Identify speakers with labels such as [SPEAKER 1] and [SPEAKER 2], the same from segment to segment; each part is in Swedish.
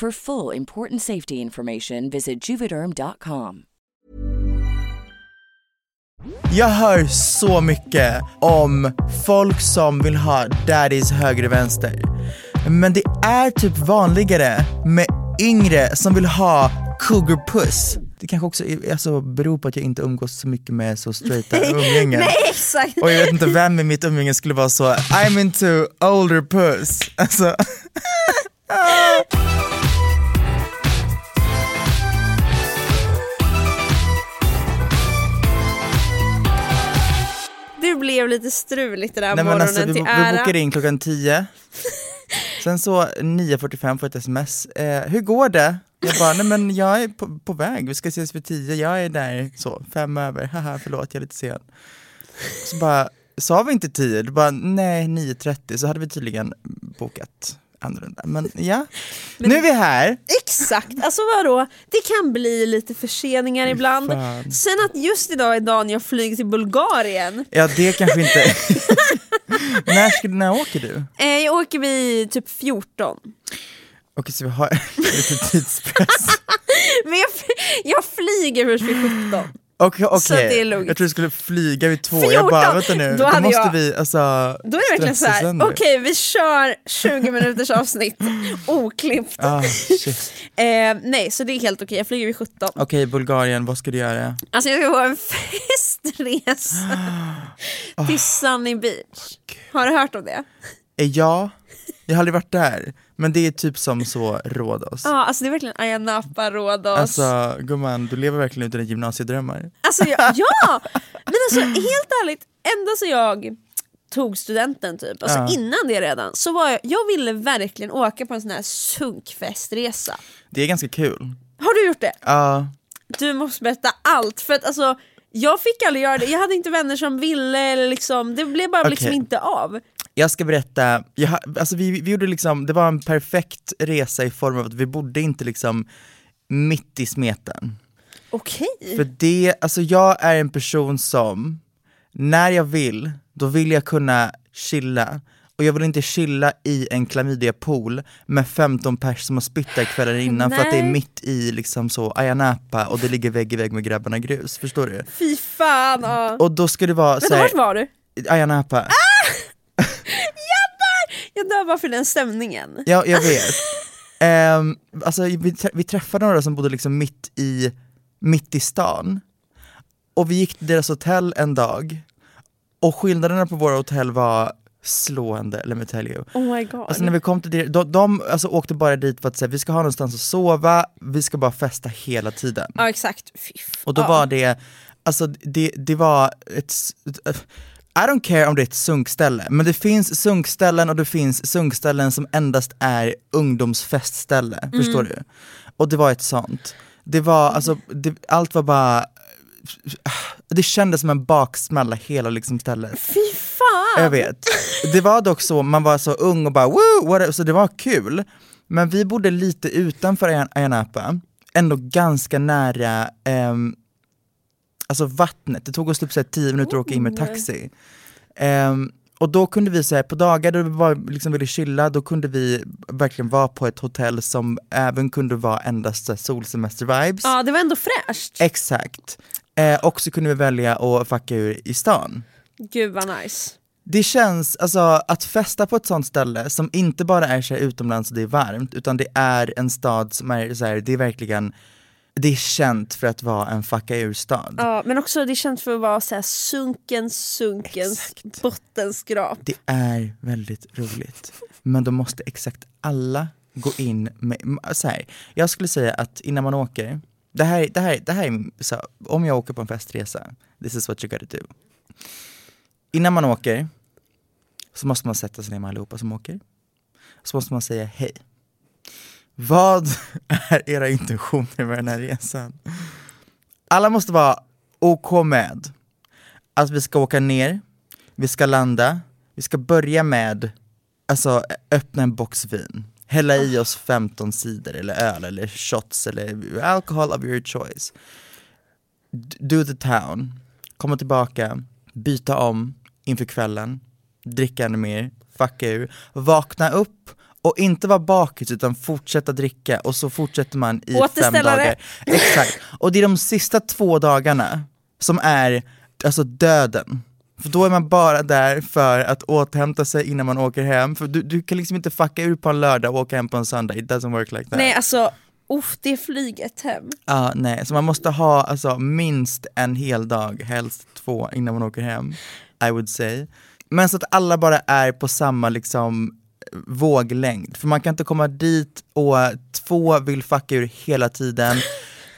[SPEAKER 1] For full important safety information, visit juvederm.com.
[SPEAKER 2] Jag hör så mycket om folk som vill ha daddies höger och vänster. Men det är typ vanligare med yngre som vill ha cougar puss. Det kanske också är, alltså, beror på att jag inte umgås så mycket med så straighta umgängen.
[SPEAKER 3] Nej exakt!
[SPEAKER 2] Och jag vet inte vem i mitt umgänge skulle vara så, I'm into older puss. Alltså,
[SPEAKER 3] Du blev lite struligt den där
[SPEAKER 2] nej, men
[SPEAKER 3] morgonen
[SPEAKER 2] alltså vi,
[SPEAKER 3] till
[SPEAKER 2] vi
[SPEAKER 3] ära.
[SPEAKER 2] bokade in klockan 10. Sen så 9.45 får jag ett sms. Eh, hur går det? Jag bara, nej men jag är på, på väg, vi ska ses vid 10, jag är där så, fem över, haha förlåt jag är lite sen. Så bara, sa vi inte 10? Du bara, nej 9.30, så hade vi tydligen bokat annorlunda. Men ja, nu är vi här.
[SPEAKER 3] Exakt, alltså vadå? Det kan bli lite förseningar ibland.
[SPEAKER 2] fan.
[SPEAKER 3] Sen att just idag är dagen jag flyger till Bulgarien.
[SPEAKER 2] Ja det kanske inte... när, ska, när åker du?
[SPEAKER 3] Eh, jag åker vid typ 14.
[SPEAKER 2] Okej så vi har lite tidspress.
[SPEAKER 3] Men jag, f- jag flyger först vid 17.
[SPEAKER 2] Okej,
[SPEAKER 3] Så det är
[SPEAKER 2] okej.
[SPEAKER 3] lugnt.
[SPEAKER 2] jag tror du skulle flyga vid två, jag bara
[SPEAKER 3] 14.
[SPEAKER 2] vänta nu,
[SPEAKER 3] Då
[SPEAKER 2] då,
[SPEAKER 3] hade
[SPEAKER 2] måste
[SPEAKER 3] jag-
[SPEAKER 2] vi alltså
[SPEAKER 3] Då är det verkligen så här. okej vi kör 20 minuters avsnitt oklippt.
[SPEAKER 2] Ah, shit.
[SPEAKER 3] Eh, nej så det är helt okej, jag flyger vid 17.
[SPEAKER 2] Okej Bulgarien, vad ska du göra?
[SPEAKER 3] Alltså jag ska på en festresa
[SPEAKER 2] Ah.
[SPEAKER 3] till Sunny Beach. Har du hört om det?
[SPEAKER 2] Eh, Ja, jag har aldrig varit där, men det är typ som så Rhodos.
[SPEAKER 3] Ja, alltså det är verkligen Ayia Napa, Rhodos. Alltså,
[SPEAKER 2] Alltså gumman, du lever verkligen ut dina gymnasiedrömmar.
[SPEAKER 3] jag, Alltså, ja! Men alltså helt ärligt, ända så jag tog studenten typ, alltså
[SPEAKER 2] Ja.
[SPEAKER 3] innan det redan, så var jag, jag ville verkligen åka på en sån här sunkfestresa.
[SPEAKER 2] Det är ganska kul.
[SPEAKER 3] Har du gjort det?
[SPEAKER 2] Ja,
[SPEAKER 3] Du måste berätta allt, för att alltså jag fick aldrig göra det, jag hade inte vänner som ville, eller liksom, det blev bara liksom
[SPEAKER 2] Okej.
[SPEAKER 3] inte av.
[SPEAKER 2] jag ska berätta, jag, ha- alltså vi, vi gjorde liksom, det var en perfekt resa i form av att vi bodde inte liksom mitt i smeten.
[SPEAKER 3] Okej.
[SPEAKER 2] För det, alltså jag är en person som, när jag vill, då vill jag kunna chilla. Och jag vill inte chilla i en klamydiapool med 15 pers som har spytt där kvällen innan för att det är
[SPEAKER 3] Nej.
[SPEAKER 2] mitt i liksom så Ayia Napa och det ligger vägg i vägg med Grabbarna Grus, förstår du?
[SPEAKER 3] Fy fan. Ja.
[SPEAKER 2] Och då ska det vara
[SPEAKER 3] Vänta,
[SPEAKER 2] såhär,
[SPEAKER 3] vart var du?
[SPEAKER 2] Ayia Napa,
[SPEAKER 3] Jag dör bara för den stämningen.
[SPEAKER 2] ja jag vet. Ehm, alltså vi, trä- vi träffade några som bodde liksom mitt i, mitt i stan. Och vi gick till deras hotell en dag, och skillnaderna på våra hotell var slående, let me tell you.
[SPEAKER 3] Oh my god.
[SPEAKER 2] Alltså när vi kom till det, de, de alltså, åkte bara dit för att säga vi ska ha någonstans att sova, vi ska bara festa hela tiden.
[SPEAKER 3] Ja exakt. Fiff.
[SPEAKER 2] Och då
[SPEAKER 3] ja.
[SPEAKER 2] var det, alltså det, det var ett, s- ett- I don't care om det är ett sunkställe, men det finns sunkställen och det finns sunkställen som endast är ungdomsfestställe, förstår du? Och det var ett sånt. Det var, alltså, det, allt var bara, det kändes som en baksmälla hela liksom stället.
[SPEAKER 3] Fy fan.
[SPEAKER 2] Jag vet. Det var dock så, man var så ung och bara woo, what a-" så det var kul. Men vi bodde lite utanför Ayan- Ayanapa, ändå ganska nära ehm, alltså vattnet. Det tog oss typ så här 10 minuter att åka in med taxi. Ehm, och då kunde vi säga på dagar då vi bara liksom ville chilla, då kunde vi verkligen vara på ett hotell som även kunde vara endast så här solsemester-vibes.
[SPEAKER 3] Ja det var ändå fräscht.
[SPEAKER 2] Exakt. Eh, och så kunde vi välja att fucka ur i stan.
[SPEAKER 3] Gud vad nice.
[SPEAKER 2] Det känns, alltså att festa på ett sånt ställe som inte bara är så här utomlands och det är varmt, utan det är en stad som är så här, det är verkligen, det är känt för att vara en fucka ur-stad.
[SPEAKER 3] Ja, men också det känns för att vara så här sunken, sunken, bottenskrap.
[SPEAKER 2] Det är väldigt roligt. Men då måste exakt alla gå in med, m- så här, jag skulle säga att innan man åker, det här, det här, det här är, så, om jag åker på en festresa, this is what you gotta do. Innan man åker så måste man sätta sig ner med allihopa som åker. Så måste man säga hej. Vad är era intentioner med den här resan? Alla måste vara OK med att vi ska åka ner, vi ska landa, vi ska börja med, alltså öppna en box vin, hälla i oss 15 sidor eller öl eller shots eller alcohol of your choice. D- Do the town, komma tillbaka, byta om inför kvällen, dricka ännu mer, fucka ur, vakna upp och inte vara bakis utan fortsätta dricka och så fortsätter man i fem
[SPEAKER 3] Återställare.
[SPEAKER 2] dagar. Exakt. Och det är de sista två dagarna som är alltså döden. För då är man bara där för att återhämta sig innan man åker hem. För du, du kan liksom inte fucka ur på en lördag och åka hem på en söndag. It doesn't work like that.
[SPEAKER 3] Nej alltså, uff, det är flyget hem.
[SPEAKER 2] Ja, nej. Så man måste ha alltså, minst en hel dag, helst två, innan man åker hem. I would say. Men så att alla bara är på samma liksom våglängd. För man kan inte komma dit och två vill fucka ur hela tiden.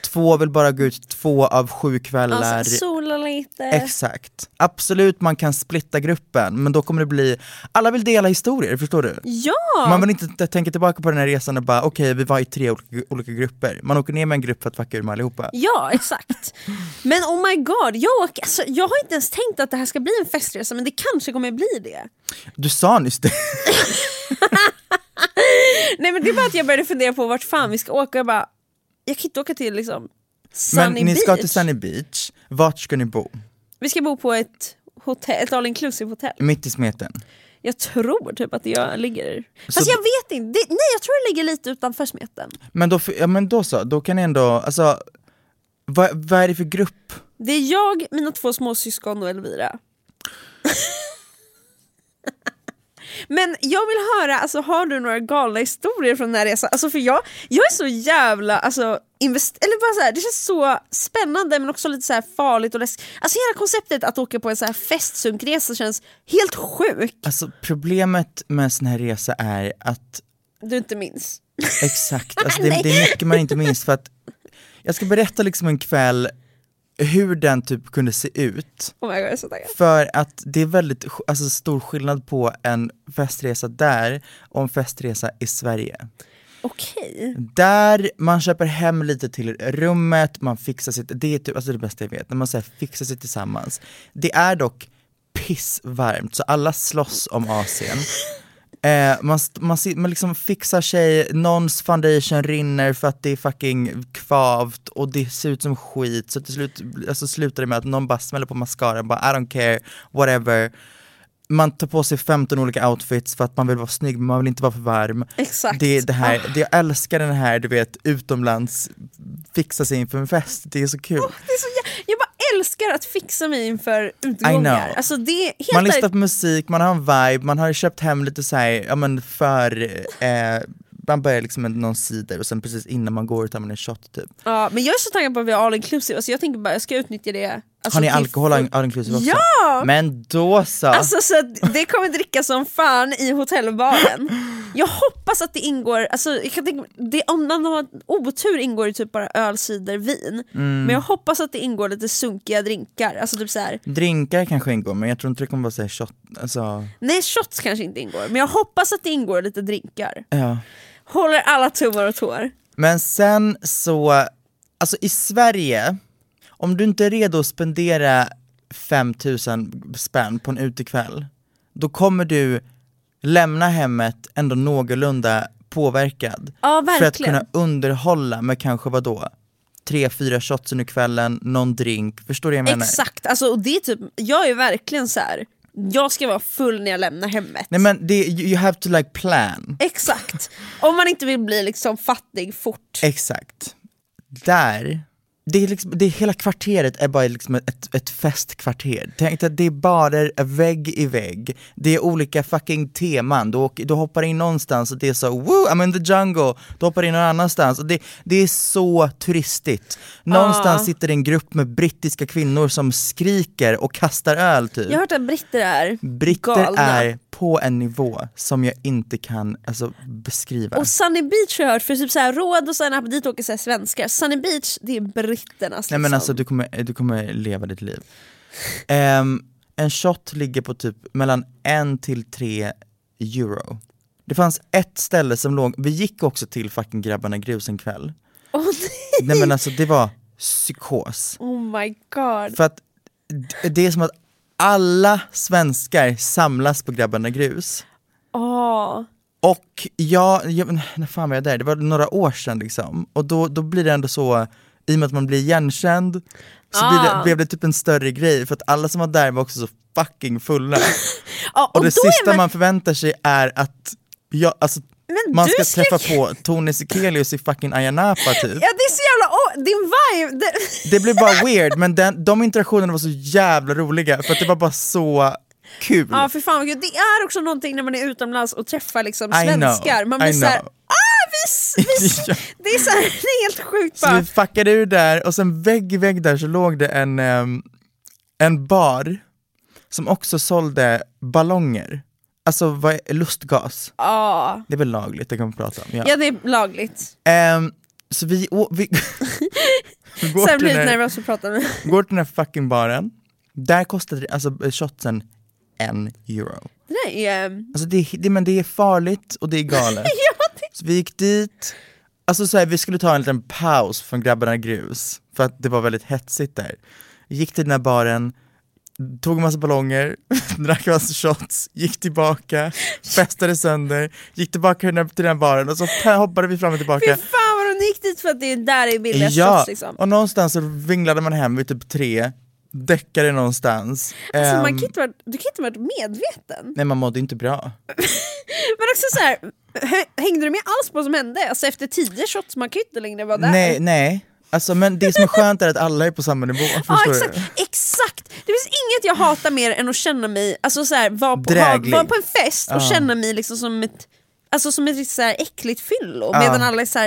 [SPEAKER 2] Två vill bara gå ut två av sju kvällar.
[SPEAKER 3] Alltså, sola lite.
[SPEAKER 2] Exakt. Absolut, man kan splitta gruppen, men då kommer det bli, alla vill dela historier, förstår du?
[SPEAKER 3] ja!
[SPEAKER 2] Man vill inte t- tänka tillbaka på den här resan och bara okej, vi var i tre olika, olika grupper. Man åker ner med en grupp för att fucka ur med allihopa.
[SPEAKER 3] Ja, exakt. Men oh my god, jag, åker, alltså, jag har inte ens tänkt att det här ska bli en festresa men det kanske kommer bli det.
[SPEAKER 2] Du sa nyss det.
[SPEAKER 3] Nej men det är bara att jag började fundera på vart fan vi ska åka och jag bara, jag kan inte åka till liksom Sunny
[SPEAKER 2] Men ni
[SPEAKER 3] Beach.
[SPEAKER 2] ska till Sunny Beach, vart ska ni bo?
[SPEAKER 3] Vi ska bo på ett hotell, ett all inclusive hotell.
[SPEAKER 2] Mitt i smeten.
[SPEAKER 3] Jag tror typ att jag ligger...
[SPEAKER 2] Så-
[SPEAKER 3] Fast jag vet inte, det, nej jag tror det ligger lite utanför smeten.
[SPEAKER 2] Men då, f- ja, men då så, då kan ni ändå, alltså, vad, vad är det för grupp?
[SPEAKER 3] Det är jag, mina två småsyskon och Elvira. Men jag vill höra, alltså, har du några galna historier från den här resan? Alltså, för jag, jag är så jävla alltså, invest- eller bara så här, Det känns så spännande men också lite så här farligt och läskigt. Alltså hela konceptet att åka på en så här festsunkresa känns helt sjukt.
[SPEAKER 2] Alltså problemet med en sån här resa är att
[SPEAKER 3] Du inte minns.
[SPEAKER 2] Exakt, alltså det, det är mycket man inte minns för att jag ska berätta liksom en kväll hur den typ kunde se ut.
[SPEAKER 3] Oh my God, jag är så taggad.
[SPEAKER 2] För att det är väldigt sk- alltså, stor skillnad på en festresa där och en festresa i Sverige.
[SPEAKER 3] Okej.
[SPEAKER 2] Där man köper hem lite till rummet, man fixar sitt, det är typ, alltså det bästa jag vet, när man säger fixar sig tillsammans. Det är dock pissvarmt, så alla slåss om AC'n. Eh, man, st- man, si- man liksom fixar sig, någons foundation rinner för att det är fucking kvavt och det ser ut som skit så till slut alltså slutar det med att någon bara smäller på mascaran, bara I don't care, whatever. Man tar på sig 15 olika outfits för att man vill vara snygg men man vill inte vara för varm.
[SPEAKER 3] Exakt.
[SPEAKER 2] Det, är det här, det, jag älskar den här, du vet, utomlands, fixa sig inför en fest, det är så kul.
[SPEAKER 3] Det är så jä- jag bara älskar att fixa mig inför
[SPEAKER 2] I
[SPEAKER 3] utgångar.
[SPEAKER 2] know.
[SPEAKER 3] Alltså det är helt
[SPEAKER 2] Man
[SPEAKER 3] ärligt-
[SPEAKER 2] lyssnar på musik, man har en vibe, man har köpt hem lite så här, ja men för, eh, man börjar liksom med någon cider och sen precis innan man går tar man en shot typ.
[SPEAKER 3] Ja, men jag är så taggad på att vi har all inclusive, alltså jag tänker bara jag ska utnyttja det Alltså,
[SPEAKER 2] Har ni
[SPEAKER 3] till
[SPEAKER 2] alkohol
[SPEAKER 3] full-
[SPEAKER 2] all inclusive också?
[SPEAKER 3] Ja!
[SPEAKER 2] Men då så!
[SPEAKER 3] Alltså så att det kommer drickas som fan i hotellbaren. Jag hoppas att det ingår, alltså, jag kan tänka, det, om man har otur ingår det typ bara öl, cider, vin.
[SPEAKER 2] Mm.
[SPEAKER 3] Men jag hoppas att det ingår lite sunkiga drinkar. Alltså typ så här,
[SPEAKER 2] Drinkar kanske ingår, men jag tror inte det kommer vara såhär shot, alltså,
[SPEAKER 3] nej shots kanske inte ingår, men jag hoppas att det ingår lite drinkar.
[SPEAKER 2] ja.
[SPEAKER 3] Håller alla tummar och tår.
[SPEAKER 2] Men sen så, alltså i Sverige, om du inte är redo att spendera 5000 spänn på en utekväll, då kommer du lämna hemmet ändå någorlunda påverkad.
[SPEAKER 3] Ja
[SPEAKER 2] För att kunna
[SPEAKER 3] verkligen.
[SPEAKER 2] underhålla med kanske vadå? Tre, fyra shots under kvällen, någon drink, förstår du vad jag menar?
[SPEAKER 3] Exakt, alltså, och det är typ, jag är verkligen så här. jag ska vara full när jag lämnar hemmet.
[SPEAKER 2] Nej men det, you you have to like plan.
[SPEAKER 3] Exakt, om man inte vill bli liksom fattig fort.
[SPEAKER 2] Exakt. Där, det är liksom, det är hela kvarteret är bara liksom ett, ett festkvarter. Tänk dig att det är barer vägg i vägg, det är olika fucking teman, du, åker, du hoppar in någonstans och det är så woo, I'm in the jungle, du hoppar in någon annanstans och det, det är så turistigt. Någonstans sitter en grupp med brittiska kvinnor som skriker och kastar öl typ.
[SPEAKER 3] Jag har hört att britter är
[SPEAKER 2] Britter
[SPEAKER 3] galna.
[SPEAKER 2] är på en nivå som jag inte kan alltså, beskriva.
[SPEAKER 3] Och Sunny Beach har jag hört, för typ så här, råd och sen dit åker så här svenskar. Sunny Beach, det är britternas
[SPEAKER 2] Nej men
[SPEAKER 3] liksom.
[SPEAKER 2] alltså du kommer, du kommer leva ditt liv. Ehm, en shot ligger på typ mellan en till tre euro. Det fanns ett ställe som låg, vi gick också till fucking grabbarna grus en kväll.
[SPEAKER 3] Åh, nej.
[SPEAKER 2] Nej men alltså det var psykos.
[SPEAKER 3] Oh my god.
[SPEAKER 2] För att d- det är som att alla svenskar samlas på grabbarna grus.
[SPEAKER 3] Åh.
[SPEAKER 2] Och jag, jag när fan var jag där? Det var några år sedan liksom. Och då, då blir det ändå så, i och med att man blir igenkänd, så blir det,
[SPEAKER 3] Ah.
[SPEAKER 2] blev det typ en större grej för att alla som var där var också så fucking fulla.
[SPEAKER 3] Ja,
[SPEAKER 2] Och,
[SPEAKER 3] Ah, och
[SPEAKER 2] det
[SPEAKER 3] då är
[SPEAKER 2] sista man förväntar sig är att jag, alltså,
[SPEAKER 3] Men
[SPEAKER 2] man
[SPEAKER 3] du
[SPEAKER 2] ska
[SPEAKER 3] skrek-
[SPEAKER 2] träffa på Tony Sekelius i fucking Ayia Napa typ.
[SPEAKER 3] Ja det är så jävla, oh, din vibe! Det...
[SPEAKER 2] Det blev bara weird men den, de interaktionerna var så jävla roliga för att det var bara så kul.
[SPEAKER 3] Ja för fan vad kul. det är också någonting när man är utomlands och träffar liksom
[SPEAKER 2] I know,
[SPEAKER 3] svenskar. Man blir
[SPEAKER 2] I
[SPEAKER 3] såhär,
[SPEAKER 2] know.
[SPEAKER 3] ah vi, s- vi, s-
[SPEAKER 2] Ja.
[SPEAKER 3] det är såhär, det är helt sjukt
[SPEAKER 2] Så vi
[SPEAKER 3] bara.
[SPEAKER 2] fuckade ur där och sen vägg i vägg där så låg det en, ehm, en bar som också sålde ballonger. Alltså vad är, lustgas.
[SPEAKER 3] Ja.
[SPEAKER 2] Det är väl lagligt, det kan vi prata om. Ja.
[SPEAKER 3] ja det är lagligt.
[SPEAKER 2] Ehm, så vi, å- vi, vi går,
[SPEAKER 3] Sen
[SPEAKER 2] till
[SPEAKER 3] blir jag
[SPEAKER 2] den här,
[SPEAKER 3] nervös att prata med
[SPEAKER 2] går till den här fucking baren. Där kostade det, alltså shotsen en euro.
[SPEAKER 3] Det där är, eh,
[SPEAKER 2] Alltså det, är- det, men det är farligt och det är galet.
[SPEAKER 3] ja det
[SPEAKER 2] Så vi gick dit, alltså så här, vi skulle ta en liten paus från grabbarna grus, för att det var väldigt hetsigt där. Gick till den här baren, tog en massa ballonger, drack en massa shots, gick tillbaka, festade sönder, gick tillbaka till den här- till den här baren och så hoppade vi fram och tillbaka.
[SPEAKER 3] Fy fan vad de gick dit för att det är där det är billigast
[SPEAKER 2] Ja,
[SPEAKER 3] shots liksom.
[SPEAKER 2] och någonstans så vinglade man hem vid typ tre, däckade någonstans.
[SPEAKER 3] Alltså, man
[SPEAKER 2] Ehm,
[SPEAKER 3] kan inte vara, du kan inte ha varit medveten.
[SPEAKER 2] Nej man mådde inte bra.
[SPEAKER 3] Men också så här, hä- hängde du med alls på vad som hände? Alltså efter tio shots, man kan ju inte längre vara där.
[SPEAKER 2] Nej, nej. Alltså men det som är skönt är att alla är på samma nivå,
[SPEAKER 3] Ja
[SPEAKER 2] förstår
[SPEAKER 3] exakt,
[SPEAKER 2] du?
[SPEAKER 3] exakt! Det finns inget jag hatar mer än att känna mig, alltså så här, vara på, ha,
[SPEAKER 2] Dräglig.
[SPEAKER 3] vara på en fest och
[SPEAKER 2] Ja.
[SPEAKER 3] känna mig liksom som ett, alltså som ett riktigt så här äckligt fyllo medan alla är så här,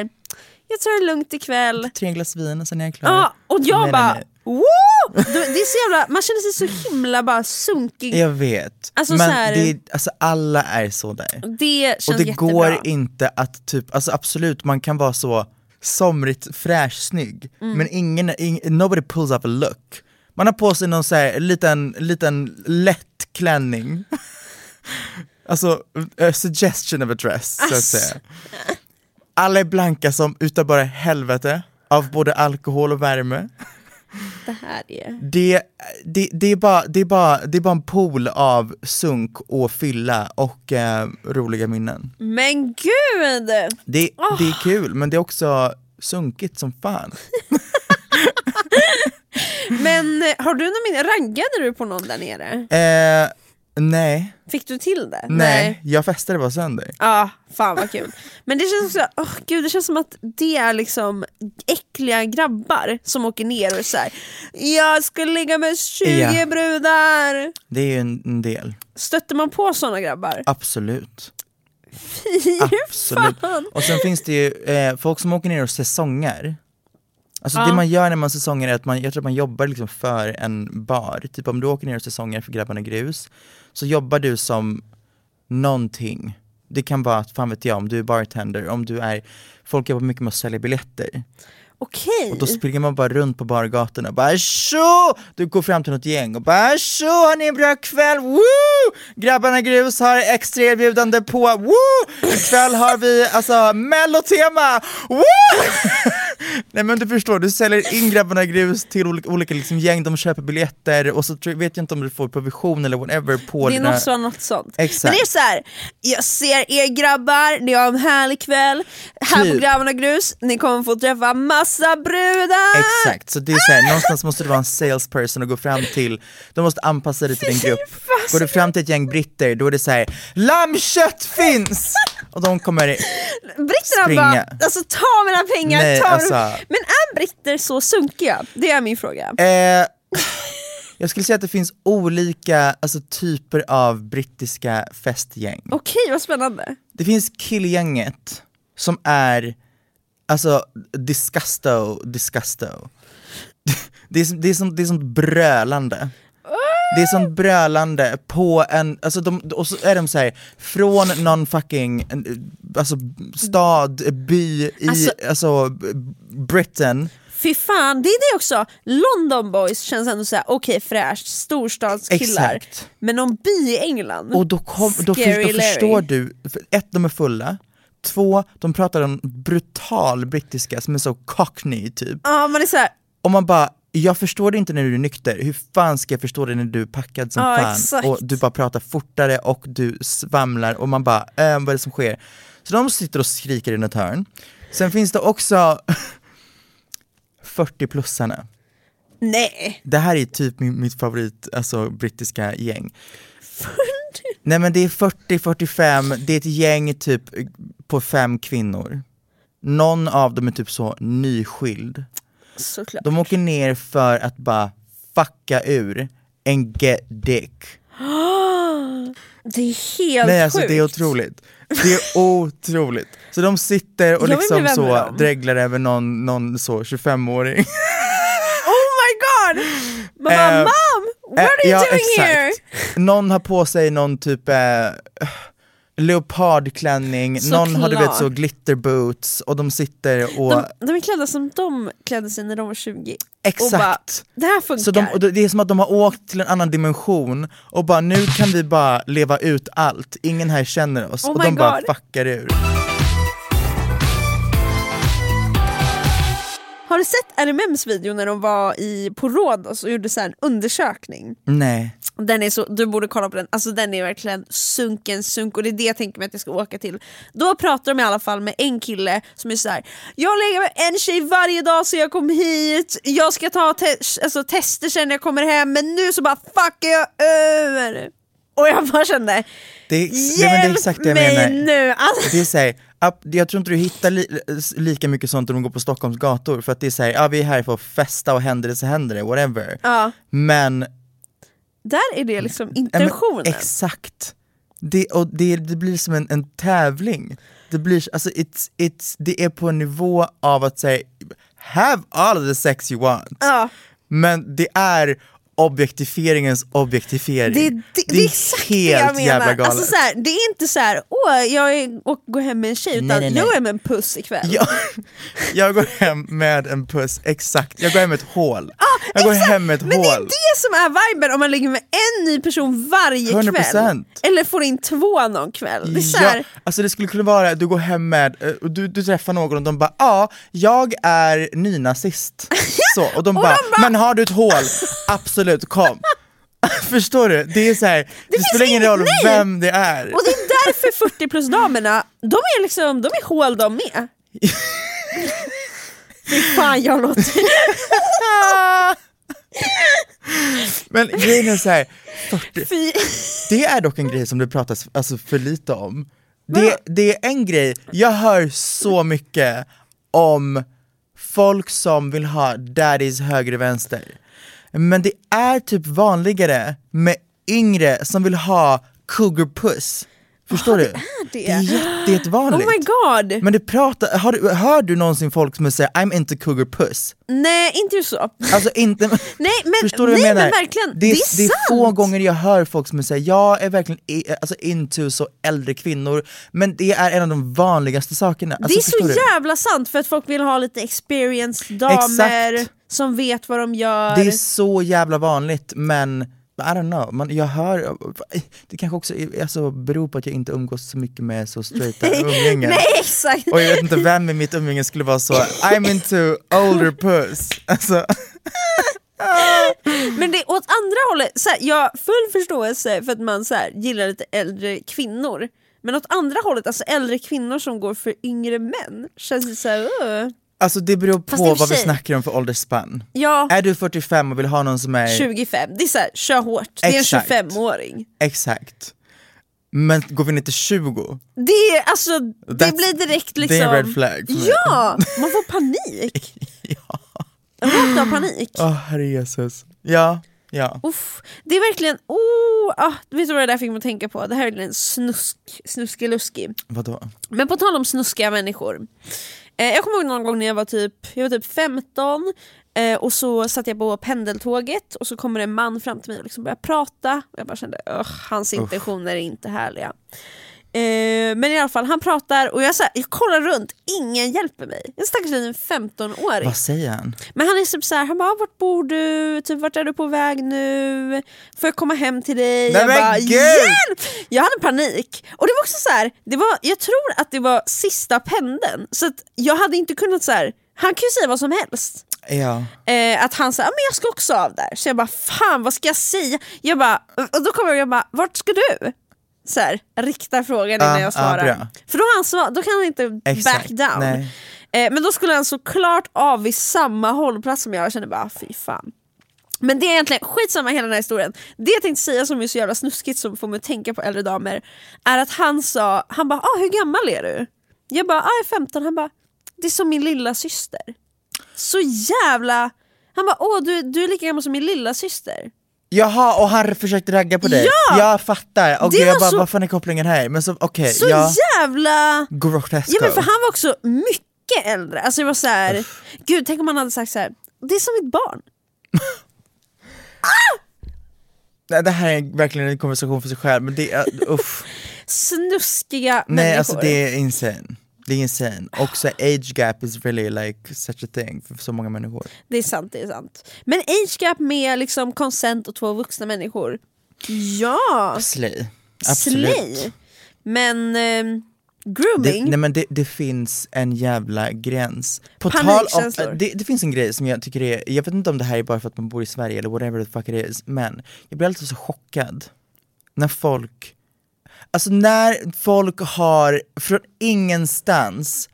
[SPEAKER 3] jag tar det lugnt ikväll.
[SPEAKER 2] Tre glas vin och sen är jag klar.
[SPEAKER 3] Ja, och jag
[SPEAKER 2] Nej, nej,
[SPEAKER 3] bara,
[SPEAKER 2] nej.
[SPEAKER 3] Woo! Det det är så jävla, man känner sig så himla bara sunkig.
[SPEAKER 2] Jag vet,
[SPEAKER 3] Alltså
[SPEAKER 2] men
[SPEAKER 3] så här-
[SPEAKER 2] det, är- alltså, alla är så där.
[SPEAKER 3] Det känns
[SPEAKER 2] Och det
[SPEAKER 3] jättebra.
[SPEAKER 2] går inte att typ, alltså absolut man kan vara så somrigt fräsch snygg,
[SPEAKER 3] Mm.
[SPEAKER 2] men ingen, ing, nobody pulls up a look. Man har på sig någon så här liten, liten lätt klänning. alltså, a suggestion of a dress så att
[SPEAKER 3] Alltså.
[SPEAKER 2] säga. Alla är blanka som utav bara helvete av både alkohol och värme.
[SPEAKER 3] Det här är...
[SPEAKER 2] Det, det, det, är bara, det, är bara, det är bara en pool av sunk och fylla och eh, roliga minnen.
[SPEAKER 3] Men gud!
[SPEAKER 2] Det, det är kul men det är också sunkigt som fan.
[SPEAKER 3] Men eh, har du någon min- Raggade du på någon där nere?
[SPEAKER 2] Eh, nej,
[SPEAKER 3] Fick du till det?
[SPEAKER 2] nej, jag festade bara sönder.
[SPEAKER 3] Ja, fan vad kul. Men det känns också, åh gud, det känns som att det är liksom äckliga grabbar som åker ner och är så här. Jag ska ligga med 20
[SPEAKER 2] Ja.
[SPEAKER 3] brudar.
[SPEAKER 2] Det är ju en, en del,
[SPEAKER 3] Stötte man på såna grabbar?
[SPEAKER 2] absolut.
[SPEAKER 3] Fy
[SPEAKER 2] Absolut.
[SPEAKER 3] fan.
[SPEAKER 2] Och sen finns det ju eh, folk som åker ner och säsonger. Alltså
[SPEAKER 3] Ja.
[SPEAKER 2] det man gör när man säsonger är att man, jag tror att man jobbar liksom för en bar. Typ om du åker ner och säsonger för Grabbarna Grus, så jobbar du som någonting. Det kan vara, att, fan vet jag, om du är bartender, om du är, folk jobbar mycket med att sälja biljetter.
[SPEAKER 3] Okej.
[SPEAKER 2] Och då springer man bara runt på bargatorna och bara tjo! Du går fram till något gäng och bara tjo, har ni en bra kväll? Woo! Grabbarna Grus har extra erbjudande på, woo! Ikväll har vi alltså mellotema, woo! Nej men du förstår, du säljer in Grabbarna Grus till olika, olika liksom gäng, de köper biljetter och så tror- vet jag inte om du får provision eller whatever på
[SPEAKER 3] Det är
[SPEAKER 2] dina-
[SPEAKER 3] något, så, något sånt.
[SPEAKER 2] Exakt.
[SPEAKER 3] Men det är så här. jag ser er grabbar, ni har en härlig kväll här på
[SPEAKER 2] Typ.
[SPEAKER 3] Grabbarna Grus, ni kommer få träffa massa brudar!
[SPEAKER 2] Exakt, så det är såhär, någonstans måste du vara en salesperson och gå fram till, de måste anpassa dig till din grupp. Går du fram till ett gäng britter, då är det såhär, lammkött finns! Och de kommer,
[SPEAKER 3] Britterna
[SPEAKER 2] Springa.
[SPEAKER 3] bara, alltså ta mina pengar,
[SPEAKER 2] Nej,
[SPEAKER 3] ta
[SPEAKER 2] alltså.
[SPEAKER 3] mina... Men är britter så sunkiga? Det är min fråga.
[SPEAKER 2] eh, jag skulle säga att det finns olika alltså, typer av brittiska festgäng.
[SPEAKER 3] Okej, vad spännande.
[SPEAKER 2] Det finns killgänget som är, alltså disgusto, disgusto. Det är, som- det är, som, det är sånt brölande. Det är sånt brölande på en, alltså de, och så är de så här från någon fucking, en, alltså stad, by i,
[SPEAKER 3] Alltså-
[SPEAKER 2] alltså, b- Britain.
[SPEAKER 3] Fy fan, det är det också. London boys känns ändå såhär, okej fräscht, storstadskillar.
[SPEAKER 2] Exakt.
[SPEAKER 3] Men någon by i England?
[SPEAKER 2] Och då, kom, då,
[SPEAKER 3] Scary
[SPEAKER 2] för, då
[SPEAKER 3] Larry.
[SPEAKER 2] förstår du, för ett de är fulla, två de pratar om brutal brittiska som är så cockney typ.
[SPEAKER 3] Ja, man är såhär,
[SPEAKER 2] Och man bara, jag förstår det inte när du är nykter, hur fan ska jag förstå det när du är packad som
[SPEAKER 3] Ja,
[SPEAKER 2] fan?
[SPEAKER 3] exakt.
[SPEAKER 2] Och du bara pratar fortare och du svamlar och man bara, äh, vad är det som sker? Så de sitter och skriker i något hörn. Sen finns det också 40-plussarna.
[SPEAKER 3] nej.
[SPEAKER 2] Det här är typ min, mitt favorit, alltså brittiska gäng. Nej men det är 40-45, det är ett gäng typ på fem kvinnor. Någon av dem är typ så nyskild.
[SPEAKER 3] Såklart.
[SPEAKER 2] De åker ner för att bara fucka ur en get dick.
[SPEAKER 3] Det är helt
[SPEAKER 2] Nej alltså
[SPEAKER 3] sjukt.
[SPEAKER 2] det är otroligt. Det är otroligt. Så de sitter och
[SPEAKER 3] Jag vill
[SPEAKER 2] liksom
[SPEAKER 3] bli vän med
[SPEAKER 2] så
[SPEAKER 3] dem.
[SPEAKER 2] dreglar över någon, någon så 25-åring.
[SPEAKER 3] Oh my god! Man bara,
[SPEAKER 2] Eh,
[SPEAKER 3] mom! What are
[SPEAKER 2] Eh,
[SPEAKER 3] you doing here?
[SPEAKER 2] Någon har på sig någon typ eh, leopardklänning, någon har du vet så
[SPEAKER 3] Såklart.
[SPEAKER 2] glitterboots och de sitter och...
[SPEAKER 3] De, de är klädda som de klädde sig när de var 20.
[SPEAKER 2] Exakt.
[SPEAKER 3] Och bara, det här funkar.
[SPEAKER 2] Så de, och det är som att de har åkt till en annan dimension och bara nu kan vi bara leva ut allt, ingen här känner oss
[SPEAKER 3] Oh
[SPEAKER 2] och
[SPEAKER 3] my
[SPEAKER 2] de bara
[SPEAKER 3] God.
[SPEAKER 2] fuckar ur.
[SPEAKER 3] Har du sett RMMs video när de var i, på Rhodos och gjorde så här en undersökning?
[SPEAKER 2] Nej.
[SPEAKER 3] Den är så, du borde kolla på den, alltså den är verkligen sunken sunk och det är det jag tänker mig att jag ska åka till. Då pratar de i alla fall med en kille som är så här: jag lägger med en tjej varje dag så jag kom hit, jag ska ta te- alltså, tester sen när jag kommer hem men nu så bara fuckar jag över. Och jag bara kände,
[SPEAKER 2] Det är,
[SPEAKER 3] hjälp
[SPEAKER 2] nej, men det är exakt det jag
[SPEAKER 3] mig
[SPEAKER 2] menar.
[SPEAKER 3] nu! Alltså,
[SPEAKER 2] Det är så här, app- jag tror inte du hittar li, s- lika mycket sånt om du går på Stockholms gator för att det är såhär, ja vi är här för att festa och händer det så händer det, whatever.
[SPEAKER 3] ja,
[SPEAKER 2] Men
[SPEAKER 3] där är det liksom
[SPEAKER 2] Ja, men
[SPEAKER 3] intentionen.
[SPEAKER 2] Exakt. Det, och det, det blir som en, en tävling. Det, blir, alltså, it's, it's, det är på en nivå av att säga have all the sex you want.
[SPEAKER 3] Ja.
[SPEAKER 2] Men det är objektifieringens objektifiering.
[SPEAKER 3] Det, det, det, är exakt det jag menar. Alltså, så här, det är inte så här, åh jag är, och går hem med en tjej, utan
[SPEAKER 2] Nej, nej, nej.
[SPEAKER 3] jag går hem med en puss ikväll.
[SPEAKER 2] jag, jag går hem med en puss, exakt. Jag går hem med ett hål. jag går
[SPEAKER 3] Exakt,
[SPEAKER 2] hem med ett
[SPEAKER 3] Men det är
[SPEAKER 2] hål.
[SPEAKER 3] det som är viben om man ligger med en ny person varje
[SPEAKER 2] 100%.
[SPEAKER 3] kväll. Eller får in två någon kväll. Det är så här,
[SPEAKER 2] Ja, alltså det skulle kunna vara, du går hem med, eh, och du, du träffar någon och de bara ja, jag är nynazist. Så, och de bara, men har du ett hål? Absolut, kom. Förstår du? Det är så här, det,
[SPEAKER 3] finns
[SPEAKER 2] spelar ingen
[SPEAKER 3] inget
[SPEAKER 2] roll
[SPEAKER 3] nej.
[SPEAKER 2] vem det är.
[SPEAKER 3] Och det är därför 40 plus damerna, de är liksom, de är hål de med. Fy fan jag låter...
[SPEAKER 2] Ah! Men grejen är så här, 40,
[SPEAKER 3] Fy.
[SPEAKER 2] det är dock en grej som det pratas alltså, för lite om. Det, det är en grej, jag hör så mycket om folk som vill ha daddies höger och vänster. Men det är typ vanligare med yngre som vill ha cougar puss. Förstår du?
[SPEAKER 3] det?
[SPEAKER 2] Det är jätte,
[SPEAKER 3] Oh
[SPEAKER 2] jättevanligt.
[SPEAKER 3] my god!
[SPEAKER 2] men du pratar, har du, hör du någonsin folk som säger I'm into cougar puss?
[SPEAKER 3] Nej, inte just så.
[SPEAKER 2] Alltså inte...
[SPEAKER 3] Nej men,
[SPEAKER 2] Förstår du
[SPEAKER 3] nej,
[SPEAKER 2] vad jag menar?
[SPEAKER 3] men
[SPEAKER 2] det,
[SPEAKER 3] verkligen, det,
[SPEAKER 2] är,
[SPEAKER 3] är sant!
[SPEAKER 2] få gånger jag hör folk som säger jag är verkligen i, alltså into så äldre kvinnor, men det är en av de vanligaste sakerna. Alltså,
[SPEAKER 3] det är så
[SPEAKER 2] förstår du?
[SPEAKER 3] jävla sant för att folk vill ha lite experienced damer
[SPEAKER 2] Exakt.
[SPEAKER 3] som vet vad de gör.
[SPEAKER 2] Det är så jävla vanligt men I don't know, man, jag hör, det kanske också är- alltså, beror på att jag inte umgås så mycket med så straighta umgängen.
[SPEAKER 3] Nej exakt!
[SPEAKER 2] Och jag vet inte vem i mitt umgänge skulle vara så, I'm into older puss. Alltså,
[SPEAKER 3] Men det är åt andra hållet, så här, jag har full förståelse för att man så här, gillar lite äldre kvinnor. Men åt andra hållet, alltså äldre kvinnor som går för yngre män, känns det såhär... Uh.
[SPEAKER 2] alltså det beror
[SPEAKER 3] i och
[SPEAKER 2] på
[SPEAKER 3] för
[SPEAKER 2] vad vi
[SPEAKER 3] sig-
[SPEAKER 2] snackar om för åldersspann.
[SPEAKER 3] Ja,
[SPEAKER 2] Är du 45 och vill ha någon som är
[SPEAKER 3] 25. Det är såhär, kör hårt. Det är en
[SPEAKER 2] Exakt.
[SPEAKER 3] 25-åring.
[SPEAKER 2] Exakt. Men går vi ner till 20,
[SPEAKER 3] Det är alltså, det
[SPEAKER 2] That's-
[SPEAKER 3] blir direkt liksom...
[SPEAKER 2] det är en red flag för mig.
[SPEAKER 3] Ja! Man får panik. ja. Rakt av panik.
[SPEAKER 2] Åh herre Jesus. Ja, ja.
[SPEAKER 3] Uff, det är verkligen, oh, ah, vet du vad det där fick mig att tänka på? Det här är verkligen snusk, snuskeluski.
[SPEAKER 2] Vadå?
[SPEAKER 3] Men på tal om snuskiga människor. Eh, jag kommer ihåg någon gång när jag var typ, jag var typ 15 eh, och så satt jag på pendeltåget och så kommer en man fram till mig och liksom börjar prata. Och jag bara kände "Ugh, hans intentioner är inte härliga. Eh, men i alla fall, han pratar och jag, så här, jag kollar runt, ingen hjälper mig. En stackars liten 15-åring.
[SPEAKER 2] Vad säger han?
[SPEAKER 3] Men han är typ såhär, han bara “vart bor du? Typ, vart är du på väg nu? Får jag komma hem till dig?”
[SPEAKER 2] Nej,
[SPEAKER 3] Jag
[SPEAKER 2] men
[SPEAKER 3] bara
[SPEAKER 2] gud!
[SPEAKER 3] “hjälp!” Jag hade panik. Och det var också så här, det var, jag tror att det var sista pendeln, så att jag hade inte kunnat så här. han kan ju säga vad som helst.
[SPEAKER 2] Ja.
[SPEAKER 3] Eh, att han sa “men jag ska också av där”, så jag bara “fan vad ska jag säga?” jag bara, Och då kommer jag och jag bara “vart ska du?” så här, rikta frågan innan
[SPEAKER 2] Ah, ah,
[SPEAKER 3] jag svarar.
[SPEAKER 2] bra.
[SPEAKER 3] För då, har han svar, då kan han inte
[SPEAKER 2] Exakt.
[SPEAKER 3] back down.
[SPEAKER 2] Nej.
[SPEAKER 3] Eh, men då skulle han såklart av vid samma hållplats som jag, jag kände bara "Ah, fy fan. Men det är egentligen skitsamma i hela den här historien. Det jag tänkte säga som är så jävla snuskigt som får mig att tänka på äldre damer är att han sa, han bara ah, “hur gammal är du?” Jag bara ah, “jag är 15” han bara “det är som min lilla syster. Så jävla... Han bara “åh du, du är lika gammal som min lilla syster.
[SPEAKER 2] Jaha, och han försökte ragga på dig?
[SPEAKER 3] Ja!
[SPEAKER 2] Jag fattar, och
[SPEAKER 3] Det
[SPEAKER 2] jag
[SPEAKER 3] var
[SPEAKER 2] bara
[SPEAKER 3] så-
[SPEAKER 2] vad fan är kopplingen här? Men så okej,
[SPEAKER 3] Så
[SPEAKER 2] ja.
[SPEAKER 3] jävla...
[SPEAKER 2] Grotesco.
[SPEAKER 3] Ja men för han var också mycket äldre. Alltså det var så här, gud tänk om han hade sagt så här. det är som mitt barn.
[SPEAKER 2] Nej, Det här är verkligen en konversation för sig själv, men det är, äh, uff.
[SPEAKER 3] Snuskiga
[SPEAKER 2] Nej
[SPEAKER 3] människor.
[SPEAKER 2] alltså det är insane. Det är insane. Också age gap is really like such a thing för så många människor.
[SPEAKER 3] Det är sant, det är sant. Men age gap med liksom consent och två vuxna människor. Ja,
[SPEAKER 2] Slay. Absolut.
[SPEAKER 3] slay. Men ehm,
[SPEAKER 2] Det,
[SPEAKER 3] grooming,
[SPEAKER 2] nej men det, det finns en jävla gräns. På
[SPEAKER 3] Panikkänslor.
[SPEAKER 2] det, det finns en grej som jag tycker är, jag vet inte om det här är bara för att man bor i Sverige eller whatever the fuck it is, men jag blir alltid så chockad när folk, alltså när folk har från ingenstans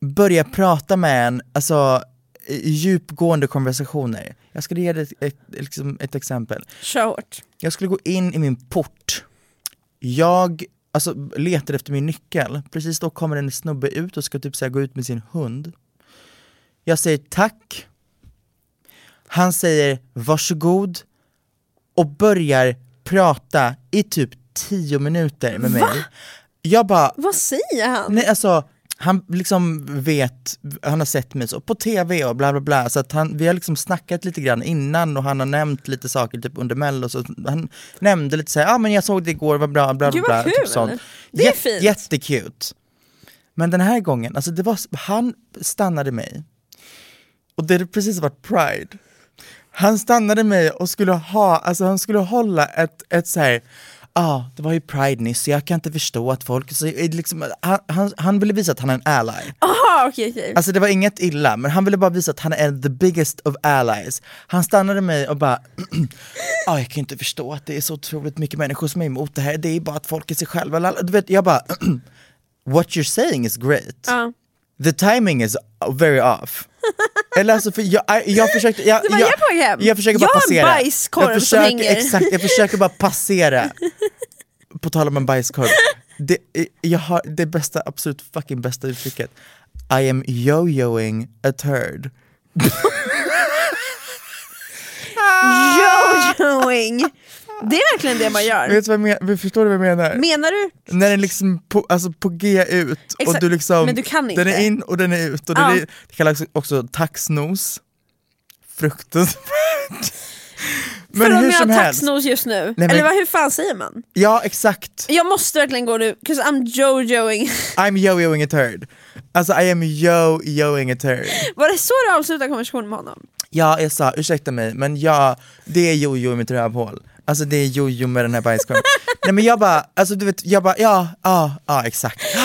[SPEAKER 2] börjar prata med en, alltså i- djupgående konversationer. Jag ska ge dig ett, ett, liksom ett exempel.
[SPEAKER 3] kör hårt.
[SPEAKER 2] Jag skulle gå in i min port. Jag alltså, letar efter min nyckel. Precis då kommer en snubbe ut och ska typ så här, gå ut med sin hund. Jag säger tack. Han säger varsågod och börjar prata i typ 10 minuter med mig. Jag bara,
[SPEAKER 3] Vad säger han?
[SPEAKER 2] Nej alltså, han liksom vet, han har sett mig så på tv och bla bla bla, så att han, vi har liksom snackat lite grann innan och han har nämnt lite saker typ under mello, så han nämnde lite såhär, ja ah, men jag såg det igår, vad bra, bla bla
[SPEAKER 3] Gud,
[SPEAKER 2] bla,
[SPEAKER 3] vad
[SPEAKER 2] typ
[SPEAKER 3] kul.
[SPEAKER 2] sånt.
[SPEAKER 3] Det är
[SPEAKER 2] Jätte-
[SPEAKER 3] fint.
[SPEAKER 2] Jättecute. Men den här gången, alltså det var, s- han stannade mig, och det hade precis varit pride. Han stannade mig och skulle ha, alltså han skulle hålla ett, ett så här, ja ah, det var ju pride nyss så jag kan inte förstå att folk, så, är det liksom, han, han, han ville visa att han är en ally.
[SPEAKER 3] Jaha okej okej.
[SPEAKER 2] Alltså det var inget illa, men han ville bara visa att han är the biggest of allies. Han stannade mig och bara, ah, jag kan inte förstå att det är så otroligt mycket människor som är emot det här, det är bara att folk är sig själva. lala." Du vet, jag bara, what you're saying is great.
[SPEAKER 3] Ja.
[SPEAKER 2] The timing is very off. Eller alltså, för jag, jag, jag försökte... Jag,
[SPEAKER 3] Du bara, "Jag är på väg hem."
[SPEAKER 2] jag försöker bara
[SPEAKER 3] Jag har en
[SPEAKER 2] passera.
[SPEAKER 3] bajskorv som
[SPEAKER 2] försöker,
[SPEAKER 3] hänger.
[SPEAKER 2] Exakt, jag försöker bara passera. På tal om en bajskorv. Det, eh, jag har det bästa, absolut fucking bästa uttrycket. I am yo-yoing a turd.
[SPEAKER 3] Jojoing! Det är verkligen det man gör.
[SPEAKER 2] Vet du vad jag men, förstår du vad jag menar?
[SPEAKER 3] Menar du?
[SPEAKER 2] När den liksom på, alltså på G ut och
[SPEAKER 3] Exakt,
[SPEAKER 2] du liksom,
[SPEAKER 3] men du kan inte.
[SPEAKER 2] den är in och den är ut. Och
[SPEAKER 3] Ja.
[SPEAKER 2] den är, det kallas också- också taxnos. Fruktansvärt.
[SPEAKER 3] För
[SPEAKER 2] Men
[SPEAKER 3] om
[SPEAKER 2] hur
[SPEAKER 3] jag
[SPEAKER 2] som
[SPEAKER 3] har
[SPEAKER 2] helst.
[SPEAKER 3] taxnos just nu.
[SPEAKER 2] men-
[SPEAKER 3] Eller vad, hur fan säger man?
[SPEAKER 2] Ja exakt,
[SPEAKER 3] Jag måste verkligen gå nu, 'cause I'm jojoing.
[SPEAKER 2] I'm yo-yoing a turd. Alltså I am yo-yoing a turd.
[SPEAKER 3] Var det så du avslutade konversationen med honom?
[SPEAKER 2] Ja jag sa, ursäkta mig, men ja, det är jojo i mitt rövhål. Alltså det är jojo med den här bajskorven. Nej men jag bara, alltså du vet, jag bara, ja, ja, ja exakt.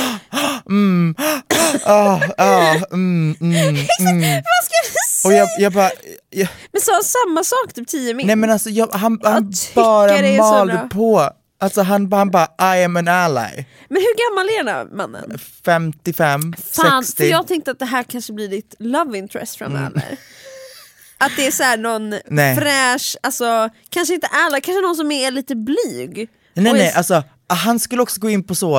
[SPEAKER 2] Mm, Ah, ja, ja, mm, mm, mm.
[SPEAKER 3] Vad ska jag
[SPEAKER 2] Och
[SPEAKER 3] säga?
[SPEAKER 2] jag, jag bara, jag,
[SPEAKER 3] Men sa han samma sak typ tio min?
[SPEAKER 2] nej men alltså jag, han, han
[SPEAKER 3] tycker
[SPEAKER 2] bara
[SPEAKER 3] det är så
[SPEAKER 2] malde
[SPEAKER 3] bra.
[SPEAKER 2] på. Alltså han, han bara, I am an ally.
[SPEAKER 3] Men hur gammal är den här mannen?
[SPEAKER 2] 55,
[SPEAKER 3] Fan, för
[SPEAKER 2] 60.
[SPEAKER 3] jag tänkte att det här kanske blir ditt love interest framöver. Att det är så här någon
[SPEAKER 2] Mm. Nej.
[SPEAKER 3] fräsch, alltså, kanske inte alla, kanske någon som är lite blyg.
[SPEAKER 2] Nej
[SPEAKER 3] Och är-
[SPEAKER 2] nej, alltså han skulle också gå in på så,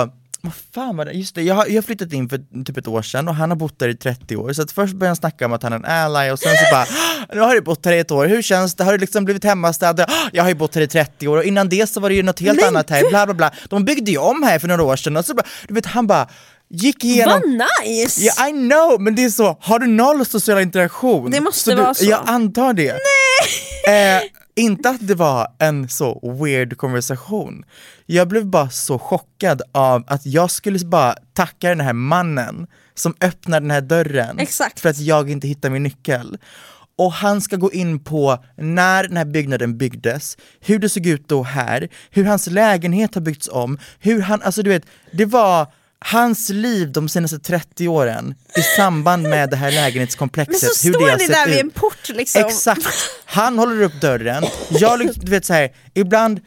[SPEAKER 2] vad fan var det, just det, jag har, jag har flyttat in för typ ett år sedan och han har bott där i 30 år, så att först började han snacka om att han är en ally och sen så bara, "Ah, nu har du bott här i ett år, hur känns det, har du liksom blivit hemmastädad, jag har ju bott här i 30 år och innan det så var det ju något helt
[SPEAKER 3] Men
[SPEAKER 2] annat här, bla bla bla, de byggde ju om här för några år sedan och så bara, du vet han bara, gick igenom
[SPEAKER 3] Vad nice!
[SPEAKER 2] Ja, I know, men det är så, har du noll social interaktion?
[SPEAKER 3] Det måste
[SPEAKER 2] du,
[SPEAKER 3] vara så.
[SPEAKER 2] Jag antar det. Nej! Eh, inte att det var en så weird konversation. Jag blev bara så chockad av att jag skulle bara tacka den här mannen som öppnar den här dörren
[SPEAKER 3] Exakt.
[SPEAKER 2] för att jag inte hittar min nyckel. Och han ska gå in på när den här byggnaden byggdes, hur det såg ut då här, hur hans lägenhet har byggts om, hur han, alltså du vet, det var hans liv de senaste 30 åren i samband med det här
[SPEAKER 3] Men
[SPEAKER 2] lägenhetskomplexet,
[SPEAKER 3] så
[SPEAKER 2] hur det
[SPEAKER 3] står
[SPEAKER 2] har
[SPEAKER 3] ni
[SPEAKER 2] sett
[SPEAKER 3] där vid
[SPEAKER 2] ut.
[SPEAKER 3] en port liksom.
[SPEAKER 2] Exakt! Han håller upp dörren, jag lyck- du vet så här, ibland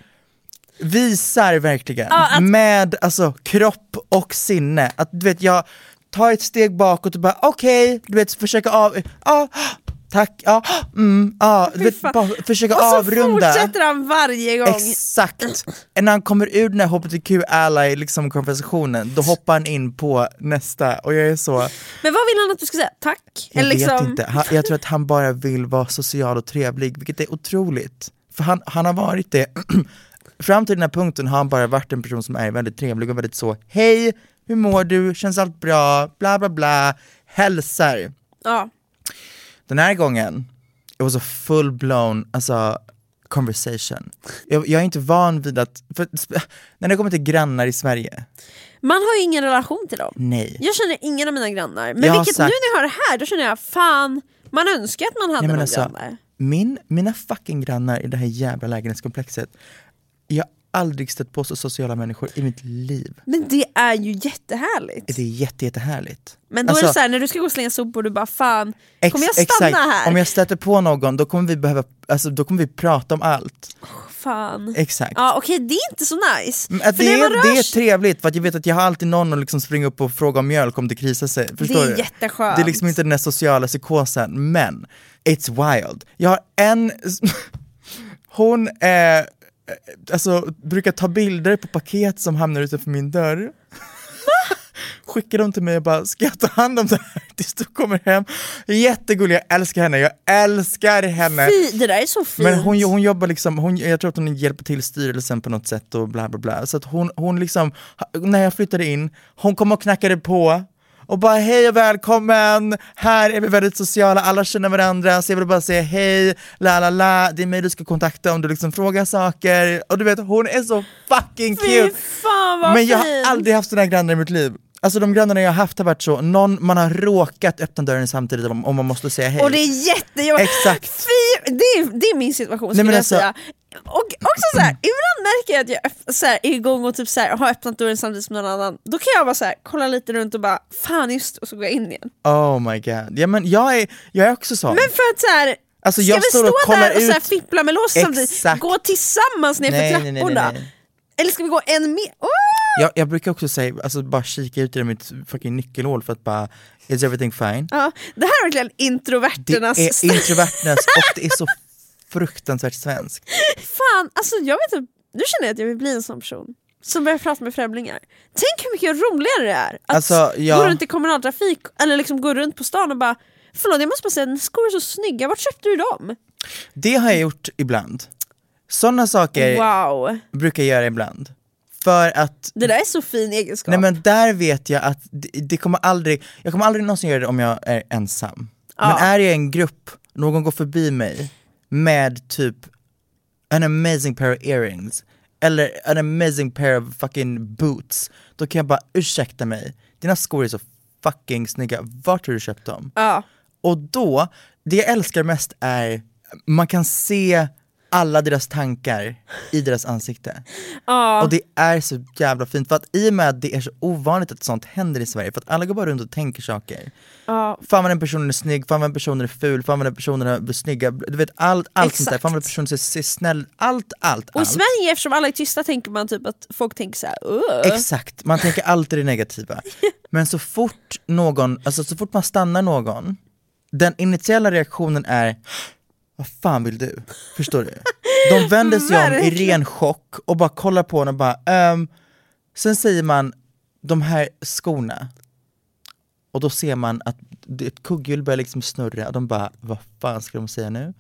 [SPEAKER 2] visar verkligen med alltså, kropp och sinne att du vet jag tar ett steg bakåt och bara okej, du vet försöka av, ah, tack, ja, ah, mm, ah, du vet, bara försöka
[SPEAKER 3] Och så
[SPEAKER 2] avrunda.
[SPEAKER 3] fortsätter han varje gång.
[SPEAKER 2] Exakt! När han kommer ur den här hbtq-ally liksom konversationen, då hoppar han in på nästa och jag är så,
[SPEAKER 3] Men vad vill han att du ska säga? Tack?
[SPEAKER 2] jag
[SPEAKER 3] Eller liksom,
[SPEAKER 2] vet inte. Han, jag tror att han bara vill vara social och trevlig, vilket är otroligt. För han, han har varit det, fram till den här punkten har han bara varit en person som är väldigt trevlig och väldigt så, hej, hur mår du, känns allt bra, bla bla bla, hälsar.
[SPEAKER 3] Ja.
[SPEAKER 2] Den här gången, it was a full blown alltså, conversation. Jag, jag är inte van vid att, för, när det kommer till grannar i Sverige,
[SPEAKER 3] Man har ju ingen relation till dem.
[SPEAKER 2] nej.
[SPEAKER 3] Jag känner ingen av mina grannar. Men
[SPEAKER 2] Jag har
[SPEAKER 3] vilket,
[SPEAKER 2] sagt-
[SPEAKER 3] nu när jag hör det här, då känner jag fan, man önskar att man hade
[SPEAKER 2] Nej, men
[SPEAKER 3] någon
[SPEAKER 2] alltså,
[SPEAKER 3] grannar.
[SPEAKER 2] min, mina fucking grannar i det här jävla lägenhetskomplexet, jag har aldrig stött på så sociala människor i mitt liv.
[SPEAKER 3] Men det är ju jättehärligt.
[SPEAKER 2] Det är jätte, jättehärligt.
[SPEAKER 3] Men då är det
[SPEAKER 2] Alltså,
[SPEAKER 3] så här, när du ska gå och slänga sopor, du bara fan,
[SPEAKER 2] ex-
[SPEAKER 3] kommer jag stanna
[SPEAKER 2] exakt.
[SPEAKER 3] här?
[SPEAKER 2] Om jag stöter på någon då kommer vi behöva, alltså, då kommer vi prata om allt.
[SPEAKER 3] Fan.
[SPEAKER 2] Exakt.
[SPEAKER 3] Ja okej, det är inte så nice.
[SPEAKER 2] Men Mm, Att
[SPEAKER 3] För
[SPEAKER 2] det,
[SPEAKER 3] när
[SPEAKER 2] är,
[SPEAKER 3] man rör
[SPEAKER 2] det är
[SPEAKER 3] sig-
[SPEAKER 2] trevligt för att jag vet att jag har alltid någon att liksom springa upp och fråga om mjölk om det krisar sig. Förstår
[SPEAKER 3] är
[SPEAKER 2] du?
[SPEAKER 3] jätteskönt.
[SPEAKER 2] Det är liksom inte den där sociala psykosen, men it's wild. Jag har en, hon eh, alltså, brukar ta bilder på paket som hamnar utanför min dörr. Skickar dem till mig och bara, ska jag ta hand om det här tills du kommer hem? Jättegullig, jag älskar henne, jag älskar henne.
[SPEAKER 3] Fy, det där är så fint.
[SPEAKER 2] Men hon, jo- hon jobbar liksom, hon, jag tror att hon hjälper till styrelsen på något sätt och bla bla bla. Så att hon, hon liksom, ha- när jag flyttade in, hon kom och knackade på och bara hej och välkommen, här är vi väldigt sociala, alla känner varandra, så jag vill bara säga hej, la la la, det är mig du ska kontakta om du liksom frågar saker. Och du vet, hon är så fucking
[SPEAKER 3] Fy
[SPEAKER 2] cute!
[SPEAKER 3] fan vad
[SPEAKER 2] Men jag
[SPEAKER 3] fint.
[SPEAKER 2] har aldrig haft sådana grannar i mitt liv. Alltså de grannarna jag har haft har varit så, någon, man har råkat öppna dörren samtidigt om, om man måste säga hej.
[SPEAKER 3] Och det är jättejobbigt.
[SPEAKER 2] Exakt.
[SPEAKER 3] Fy, det, är, det är min situation
[SPEAKER 2] men
[SPEAKER 3] skulle
[SPEAKER 2] alltså-
[SPEAKER 3] jag säga. Och också så här, ibland märker jag att jag öpp- så här, är igång och typ så här, har öppnat dörren samtidigt som någon annan. Då kan jag bara så här, kolla lite runt och bara fan just det", och så går jag in igen.
[SPEAKER 2] Oh my god. Ja men jag är, jag är också sån.
[SPEAKER 3] Men för att så här,
[SPEAKER 2] Alltså,
[SPEAKER 3] ska
[SPEAKER 2] jag
[SPEAKER 3] vi
[SPEAKER 2] står och
[SPEAKER 3] stå
[SPEAKER 2] kollar
[SPEAKER 3] där och så här,
[SPEAKER 2] ut-
[SPEAKER 3] fippla med lås samtidigt?
[SPEAKER 2] Exakt.
[SPEAKER 3] Gå tillsammans ner
[SPEAKER 2] Nej,
[SPEAKER 3] för
[SPEAKER 2] nej, nej, nej,
[SPEAKER 3] trapporna?
[SPEAKER 2] nej.
[SPEAKER 3] Eller ska vi gå en mer? Åh!
[SPEAKER 2] Jag, jag brukar också säga, alltså bara kika ut genom mitt fucking nyckelhål för att bara, is everything fine?
[SPEAKER 3] Ja, det här är verkligen
[SPEAKER 2] Det
[SPEAKER 3] introverternas...
[SPEAKER 2] är introvertness och det är så fruktansvärt svenskt.
[SPEAKER 3] Fan, alltså jag vet inte, nu känner jag att jag vill bli en sån person som börjar prata med främlingar. Tänk hur mycket roligare det är att
[SPEAKER 2] Alltså, ja.
[SPEAKER 3] gå runt i kommunaltrafik eller liksom gå runt på stan och bara Förlåt jag måste bara säga, dina skor är så snygga, vart köpte du dem?
[SPEAKER 2] Det har jag gjort ibland. Sådana saker
[SPEAKER 3] Wow.
[SPEAKER 2] brukar jag göra ibland. För att,
[SPEAKER 3] Det där är så fin egenskap.
[SPEAKER 2] nej men där vet jag att det, det kommer aldrig, jag kommer aldrig någonsin göra det om jag är ensam. Men är jag i en grupp, någon går förbi mig med typ an amazing pair of earrings eller an amazing pair of fucking boots, då kan jag bara ursäkta mig, dina skor är så fucking snygga, vart har du köpt dem?
[SPEAKER 3] ja.
[SPEAKER 2] Och då, det jag älskar mest är, man kan se alla deras tankar i deras ansikte. Och det är så jävla fint, för att i och med att det är så ovanligt att sånt händer i Sverige, för att alla går bara runt och tänker saker. Fan vad den personen är snygg, fan vad den personen är ful, fan vad den personen är snygga, du vet allt, allt sånt där,
[SPEAKER 3] Exakt.
[SPEAKER 2] fan vad den personen ser, ser snäll, allt, allt,
[SPEAKER 3] Och i
[SPEAKER 2] allt.
[SPEAKER 3] Sverige, eftersom alla är tysta, tänker man typ att folk tänker såhär "Ugh."
[SPEAKER 2] Exakt, man tänker alltid det negativa. Men så fort någon, alltså så fort man stannar någon, den initiala reaktionen är vad fan vill du? Förstår du? De vänder sig om i ren chock och bara kollar på honom och bara ehm, Sen säger man de här skorna och då ser man att det- ett kugghjul börjar liksom snurra och de bara vad fan ska de säga nu?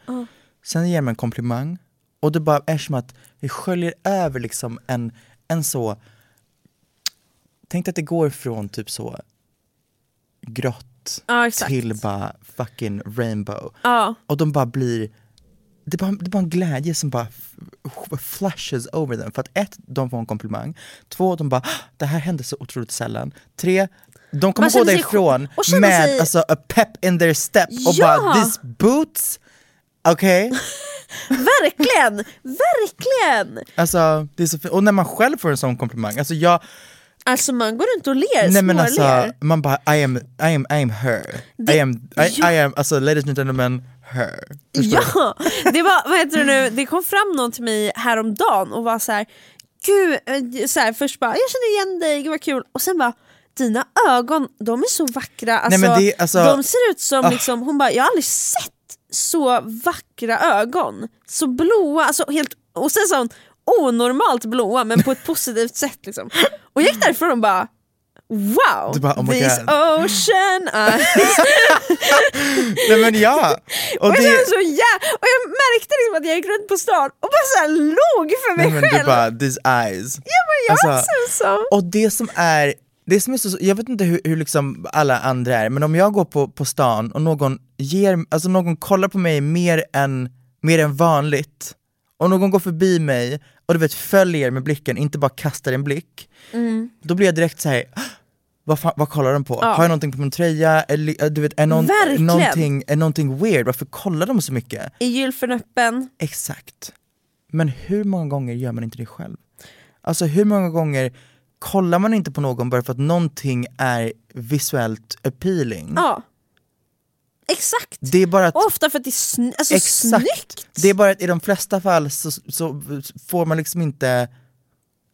[SPEAKER 2] Sen ger man en komplimang och det bara är som att det sköljer över liksom en, en så Tänk dig att det går från typ så grått
[SPEAKER 3] Ja, exakt.
[SPEAKER 2] till bara fucking rainbow.
[SPEAKER 3] Ja.
[SPEAKER 2] Och de bara blir, det är bara, det är bara en glädje som bara f- flashes over them. För att ett, de får en komplimang. Två, de bara, "Ah, det här händer så otroligt sällan. Tre, de kommer gå
[SPEAKER 3] känner sig
[SPEAKER 2] därifrån
[SPEAKER 3] sjuk- och känner
[SPEAKER 2] med
[SPEAKER 3] sig-
[SPEAKER 2] alltså a pep in their step och
[SPEAKER 3] Ja!
[SPEAKER 2] bara these boots, okej?
[SPEAKER 3] Verkligen! Verkligen!
[SPEAKER 2] Alltså det är så fint. Och när man själv får en sån komplimang, alltså jag,
[SPEAKER 3] Alltså man går runt och ler,
[SPEAKER 2] Nej men
[SPEAKER 3] småler.
[SPEAKER 2] alltså, man bara I am, I am, I am her. I am, I, I am, alltså ladies and gentlemen, her. Förstår du?
[SPEAKER 3] Ja, det var, vad heter det nu, det kom fram någon till mig häromdagen och var så här, gud, eh, så här, först bara jag känner igen dig, gud vad kul, och sen bara dina ögon, de är så vackra, alltså,
[SPEAKER 2] men det är- alltså-
[SPEAKER 3] de ser ut som, liksom, hon bara jag har aldrig sett så vackra ögon, så blåa, alltså helt, och sen sa hon onormalt blåa men på ett positivt sätt liksom. Och jag gick därifrån och bara Wow!
[SPEAKER 2] Du bara, oh my
[SPEAKER 3] This
[SPEAKER 2] God."
[SPEAKER 3] ocean eyes
[SPEAKER 2] Nej men ja! Och
[SPEAKER 3] och jag,
[SPEAKER 2] det,
[SPEAKER 3] kände så jä- och jag märkte liksom att jag gick runt på stan och bara så här låg för mig
[SPEAKER 2] nej men du
[SPEAKER 3] själv.
[SPEAKER 2] bara these eyes.
[SPEAKER 3] jag bara, jag
[SPEAKER 2] alltså-
[SPEAKER 3] ser ut som...
[SPEAKER 2] Och det som är, det som är så, jag vet inte hur, hur liksom alla andra är, men om jag går på, på stan och någon ger, alltså någon kollar på mig mer än, mer än vanligt, och någon går förbi mig och du vet följer med blicken, inte bara kastar en blick,
[SPEAKER 3] Mm.
[SPEAKER 2] då blir jag direkt så här. "Ah, Vad, fan, vad kollar de på? Har jag någonting på min tröja? Eller, du vet, är, någon,
[SPEAKER 3] Verkligen.
[SPEAKER 2] någonting, är någonting weird? Varför kollar de så mycket?
[SPEAKER 3] Är gylfen
[SPEAKER 2] Mm.
[SPEAKER 3] öppen?
[SPEAKER 2] Exakt. Men hur många gånger gör man inte det själv? Alltså hur många gånger kollar man inte på någon bara för att någonting är visuellt appealing?
[SPEAKER 3] Ja. Exakt.
[SPEAKER 2] Det är bara att,
[SPEAKER 3] Och ofta för att det är sn- alltså, snyggt.
[SPEAKER 2] det är bara att i de flesta fall så, så får man liksom inte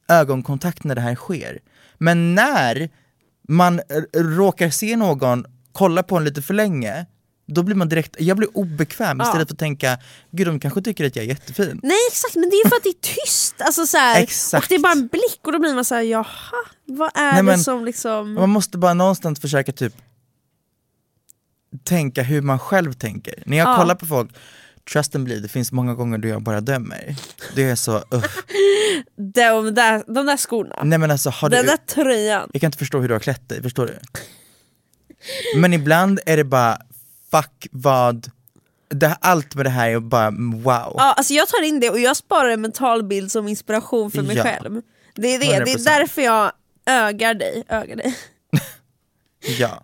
[SPEAKER 2] ögonkontakt när det här sker. Men när man eh, råkar se någon kolla på en lite för länge, då blir man direkt, jag blir obekväm istället för att tänka, gud de kanske tycker att jag är jättefin.
[SPEAKER 3] Nej exakt, men det är för att det är tyst. Alltså, så här,
[SPEAKER 2] Exakt.
[SPEAKER 3] Och det är bara en blick och då blir man så här, jaha, vad är
[SPEAKER 2] Nej, men-
[SPEAKER 3] det som liksom...
[SPEAKER 2] Man måste bara någonstans försöka typ tänka hur man själv tänker. När jag
[SPEAKER 3] Ja.
[SPEAKER 2] kollar på folk, trust and believe, det finns många gånger då jag bara dömer. Det är så, uh.
[SPEAKER 3] De där, de där skorna,
[SPEAKER 2] nej men alltså har
[SPEAKER 3] den
[SPEAKER 2] du,
[SPEAKER 3] där tröjan.
[SPEAKER 2] jag kan inte förstå hur du har klätt dig, förstår du? Men ibland är det bara, fuck vad, det, här- allt med det här är bara mm, wow.
[SPEAKER 3] Ja, alltså jag tar in det och jag sparar en mental bild som inspiration för mig
[SPEAKER 2] Ja.
[SPEAKER 3] själv. Det är, det. det är
[SPEAKER 2] 100%.
[SPEAKER 3] därför jag ögar dig. Ögar dig.
[SPEAKER 2] Ja.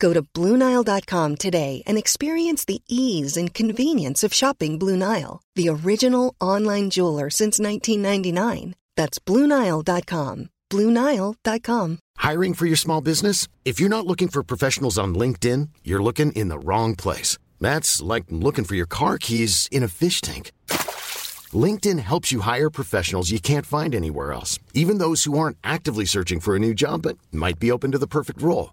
[SPEAKER 4] Go to BlueNile.com today and experience the ease and convenience of shopping Blue Nile, the original online jeweler since 1999. That's BlueNile.com. BlueNile.com.
[SPEAKER 5] Hiring for your small business? If you're not looking for professionals on LinkedIn, you're looking in the wrong place. That's like looking for your car keys in a fish tank. LinkedIn helps you hire professionals you can't find anywhere else, even those who aren't actively searching for a new job but might be open to the perfect role.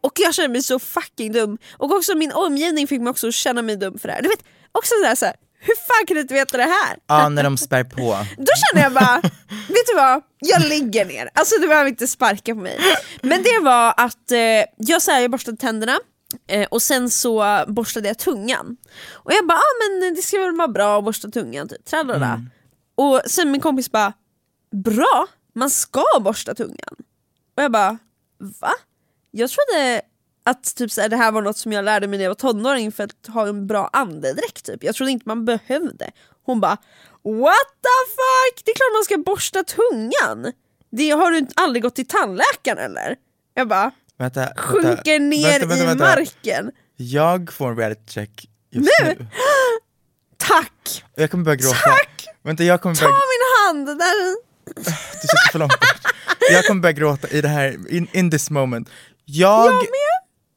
[SPEAKER 3] och jag känner mig så fucking dum och också min omgivning fick mig också att känna mig dum för det här. Du vet, också sådär, såhär, hur fan kan du inte veta det här?
[SPEAKER 2] Ja, när de spär på.
[SPEAKER 3] Då känner jag bara, vet du vad? Jag ligger ner. Alltså du behöver inte sparka på mig. Men det var att eh, jag, så här, jag borstade tänderna eh, och sen så borstade jag tungan. Och jag bara, ah, men det ska väl vara bra att borsta tungan. Typ. Trallala. Och sen min kompis bara, bra? Man ska borsta tungan. Och jag bara, va? Jag trodde att typ, så här, det här var något som jag lärde mig när jag var tonåring för att ha en bra andedräkt. Typ. Jag trodde inte man behövde. Hon bara What the fuck! Det är klart man ska borsta tungan! Det, har du inte- aldrig gått till tandläkaren eller? Jag bara
[SPEAKER 2] Vänta, vänta,
[SPEAKER 3] sjunker ner
[SPEAKER 2] vänta, vänta,
[SPEAKER 3] i
[SPEAKER 2] vänta.
[SPEAKER 3] marken.
[SPEAKER 2] Jag får en reality check just
[SPEAKER 3] Nu?
[SPEAKER 2] nu.
[SPEAKER 3] Tack!
[SPEAKER 2] Jag kommer börja gråta.
[SPEAKER 3] Tack!
[SPEAKER 2] Vänta, jag kommer
[SPEAKER 3] Ta
[SPEAKER 2] börja,
[SPEAKER 3] min hand! Där.
[SPEAKER 2] du sitter för långt bort. Jag kommer börja gråta i det här, in, in this moment. Jag,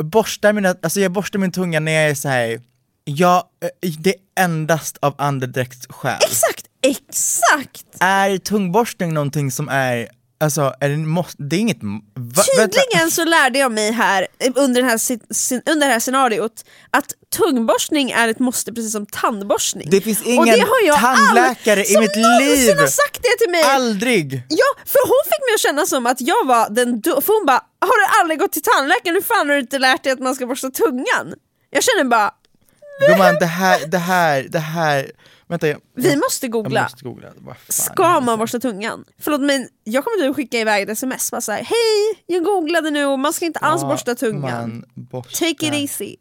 [SPEAKER 2] borstar mina, alltså jag borstar min tunga när jag är så här. jag, eh, det är endast av andedräktsskäl.
[SPEAKER 3] Exakt, exakt!
[SPEAKER 2] Är tungborstning någonting som är, alltså är det, måste, det är inget, va, vänta.
[SPEAKER 3] Tydligen så lärde jag mig här eh, under, den här, sce- scen- under det här scenariot att tungborstning är ett måste precis som tandborstning.
[SPEAKER 2] Det finns
[SPEAKER 3] Och
[SPEAKER 2] ingen tandläkare i
[SPEAKER 3] som
[SPEAKER 2] mitt
[SPEAKER 3] någonsin
[SPEAKER 2] liv.
[SPEAKER 3] har sagt det till mig!
[SPEAKER 2] Aldrig!
[SPEAKER 3] Ja, för hon fick mig att känna som att jag var den du- för hon bara “Har du aldrig gått till tandläkaren? Hur fan har du inte lärt dig att man ska borsta tungan?” Jag känner bara,
[SPEAKER 2] Gumman, det här, det här, det här, vänta jag,
[SPEAKER 3] vi måste
[SPEAKER 2] jag
[SPEAKER 3] googla.
[SPEAKER 2] måste googla. Vad fan är
[SPEAKER 3] Ska
[SPEAKER 2] det?
[SPEAKER 3] man borsta tungan? Förlåt men jag kommer nu skicka iväg ett sms bara såhär “Hej, jag googlade nu och man ska inte alls
[SPEAKER 2] Ja,
[SPEAKER 3] borsta tungan.
[SPEAKER 2] man borstar.
[SPEAKER 3] Take it easy”.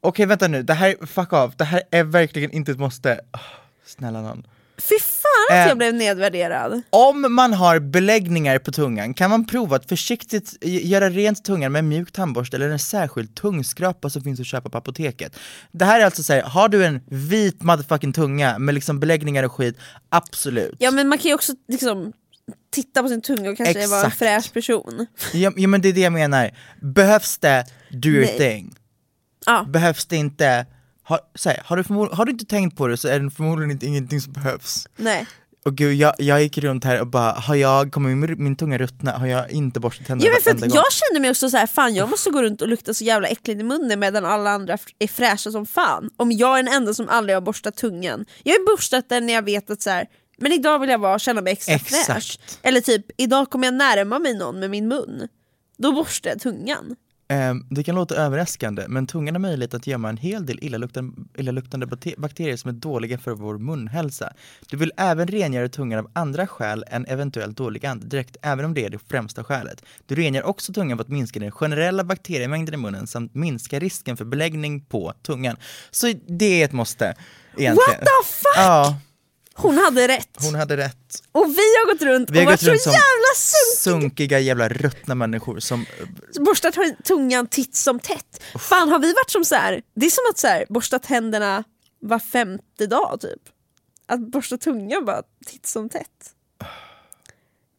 [SPEAKER 2] Okej vänta nu, det här, fuck off, det här är verkligen inte ett måste. Åh, snälla nån.
[SPEAKER 3] Fy fan att
[SPEAKER 2] Eh.
[SPEAKER 3] jag blev nedvärderad.
[SPEAKER 2] Om man har beläggningar på tungan kan man prova att försiktigt gö- göra rent tungan med en mjuk tandborste eller en särskild tungskrapa som finns att köpa på apoteket. Det här är alltså såhär, har du en vit motherfucking tunga med liksom beläggningar och skit, absolut.
[SPEAKER 3] Ja men man kan ju också liksom titta på sin tunga och kanske vara en
[SPEAKER 2] Exakt.
[SPEAKER 3] fräsch person.
[SPEAKER 2] Ja, ja men det är det jag menar, behövs det, do your
[SPEAKER 3] Nej.
[SPEAKER 2] thing.
[SPEAKER 3] Ja.
[SPEAKER 2] Behövs det inte, har, så här, har, du förmo- har du inte tänkt på det så är det förmodligen inte, ingenting som behövs.
[SPEAKER 3] Nej.
[SPEAKER 2] Och gud, jag, jag gick runt här och bara, har jag, kommer min, min tunga ruttna? Har jag inte borstat tänderna
[SPEAKER 3] Ja, men för
[SPEAKER 2] varenda
[SPEAKER 3] att
[SPEAKER 2] gång?
[SPEAKER 3] jag kände mig också så här, fan jag måste gå runt och lukta så jävla äckligt i munnen medan alla andra f- är fräscha som fan. Om jag är den enda som aldrig har borstat tungan. Jag har ju borstat den när jag vet att så här, men idag vill jag vara, känna mig extra
[SPEAKER 2] Exakt.
[SPEAKER 3] fräsch. Eller typ, idag kommer jag närma mig någon med min mun. Då borstar jag tungan.
[SPEAKER 2] Ehm, det kan låta överraskande, men tungan har möjlighet att gömma en hel del illaluktande, illaluktande bakte- bakterier som är dåliga för vår munhälsa. Du vill även rengöra tungan av andra skäl än eventuellt dålig andedräkt, även om det är det främsta skälet. Du rengör också tungan för att minska den generella bakteriemängden i munnen samt minska risken för beläggning på tungan. Så det är ett måste, egentligen.
[SPEAKER 3] What the fuck!
[SPEAKER 2] Ja,
[SPEAKER 3] Hon hade rätt.
[SPEAKER 2] hon hade rätt.
[SPEAKER 3] Och vi har gått runt
[SPEAKER 2] Vi har
[SPEAKER 3] och varit
[SPEAKER 2] gått runt
[SPEAKER 3] så
[SPEAKER 2] som
[SPEAKER 3] jävla sunkiga.
[SPEAKER 2] sunkiga jävla ruttna människor som... eh,
[SPEAKER 3] borstar t- tungan titt som tätt. Fan har vi varit som så här? det är som att så här, borsta tänderna var femte dag typ. Att borsta tungan bara titt som tätt.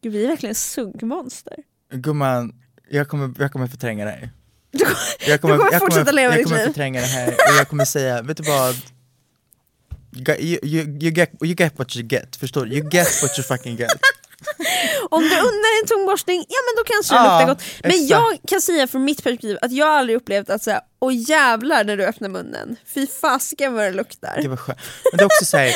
[SPEAKER 3] Gud, vi är verkligen sunkmonster.
[SPEAKER 2] Gumman, jag kommer, jag kommer förtränga dig.
[SPEAKER 3] Du kommer,
[SPEAKER 2] Jag kommer,
[SPEAKER 3] du kommer
[SPEAKER 2] jag
[SPEAKER 3] fortsätta
[SPEAKER 2] kommer,
[SPEAKER 3] leva
[SPEAKER 2] jag
[SPEAKER 3] ditt
[SPEAKER 2] kommer
[SPEAKER 3] liv.
[SPEAKER 2] förtränga det här och jag kommer säga, vet du vad? You, got- you, you, you, get, you get what you get, förstår du? You get what you fucking get.
[SPEAKER 3] Om du undrar en tungborstning, ja men då kanske det
[SPEAKER 2] Ja,
[SPEAKER 3] luktar gott. Men
[SPEAKER 2] exakt.
[SPEAKER 3] jag kan säga från mitt perspektiv att jag aldrig upplevt att säga åh jävlar när du öppnar munnen, fy fasiken vad det luktar.
[SPEAKER 2] Det var skönt. Men det är också såhär,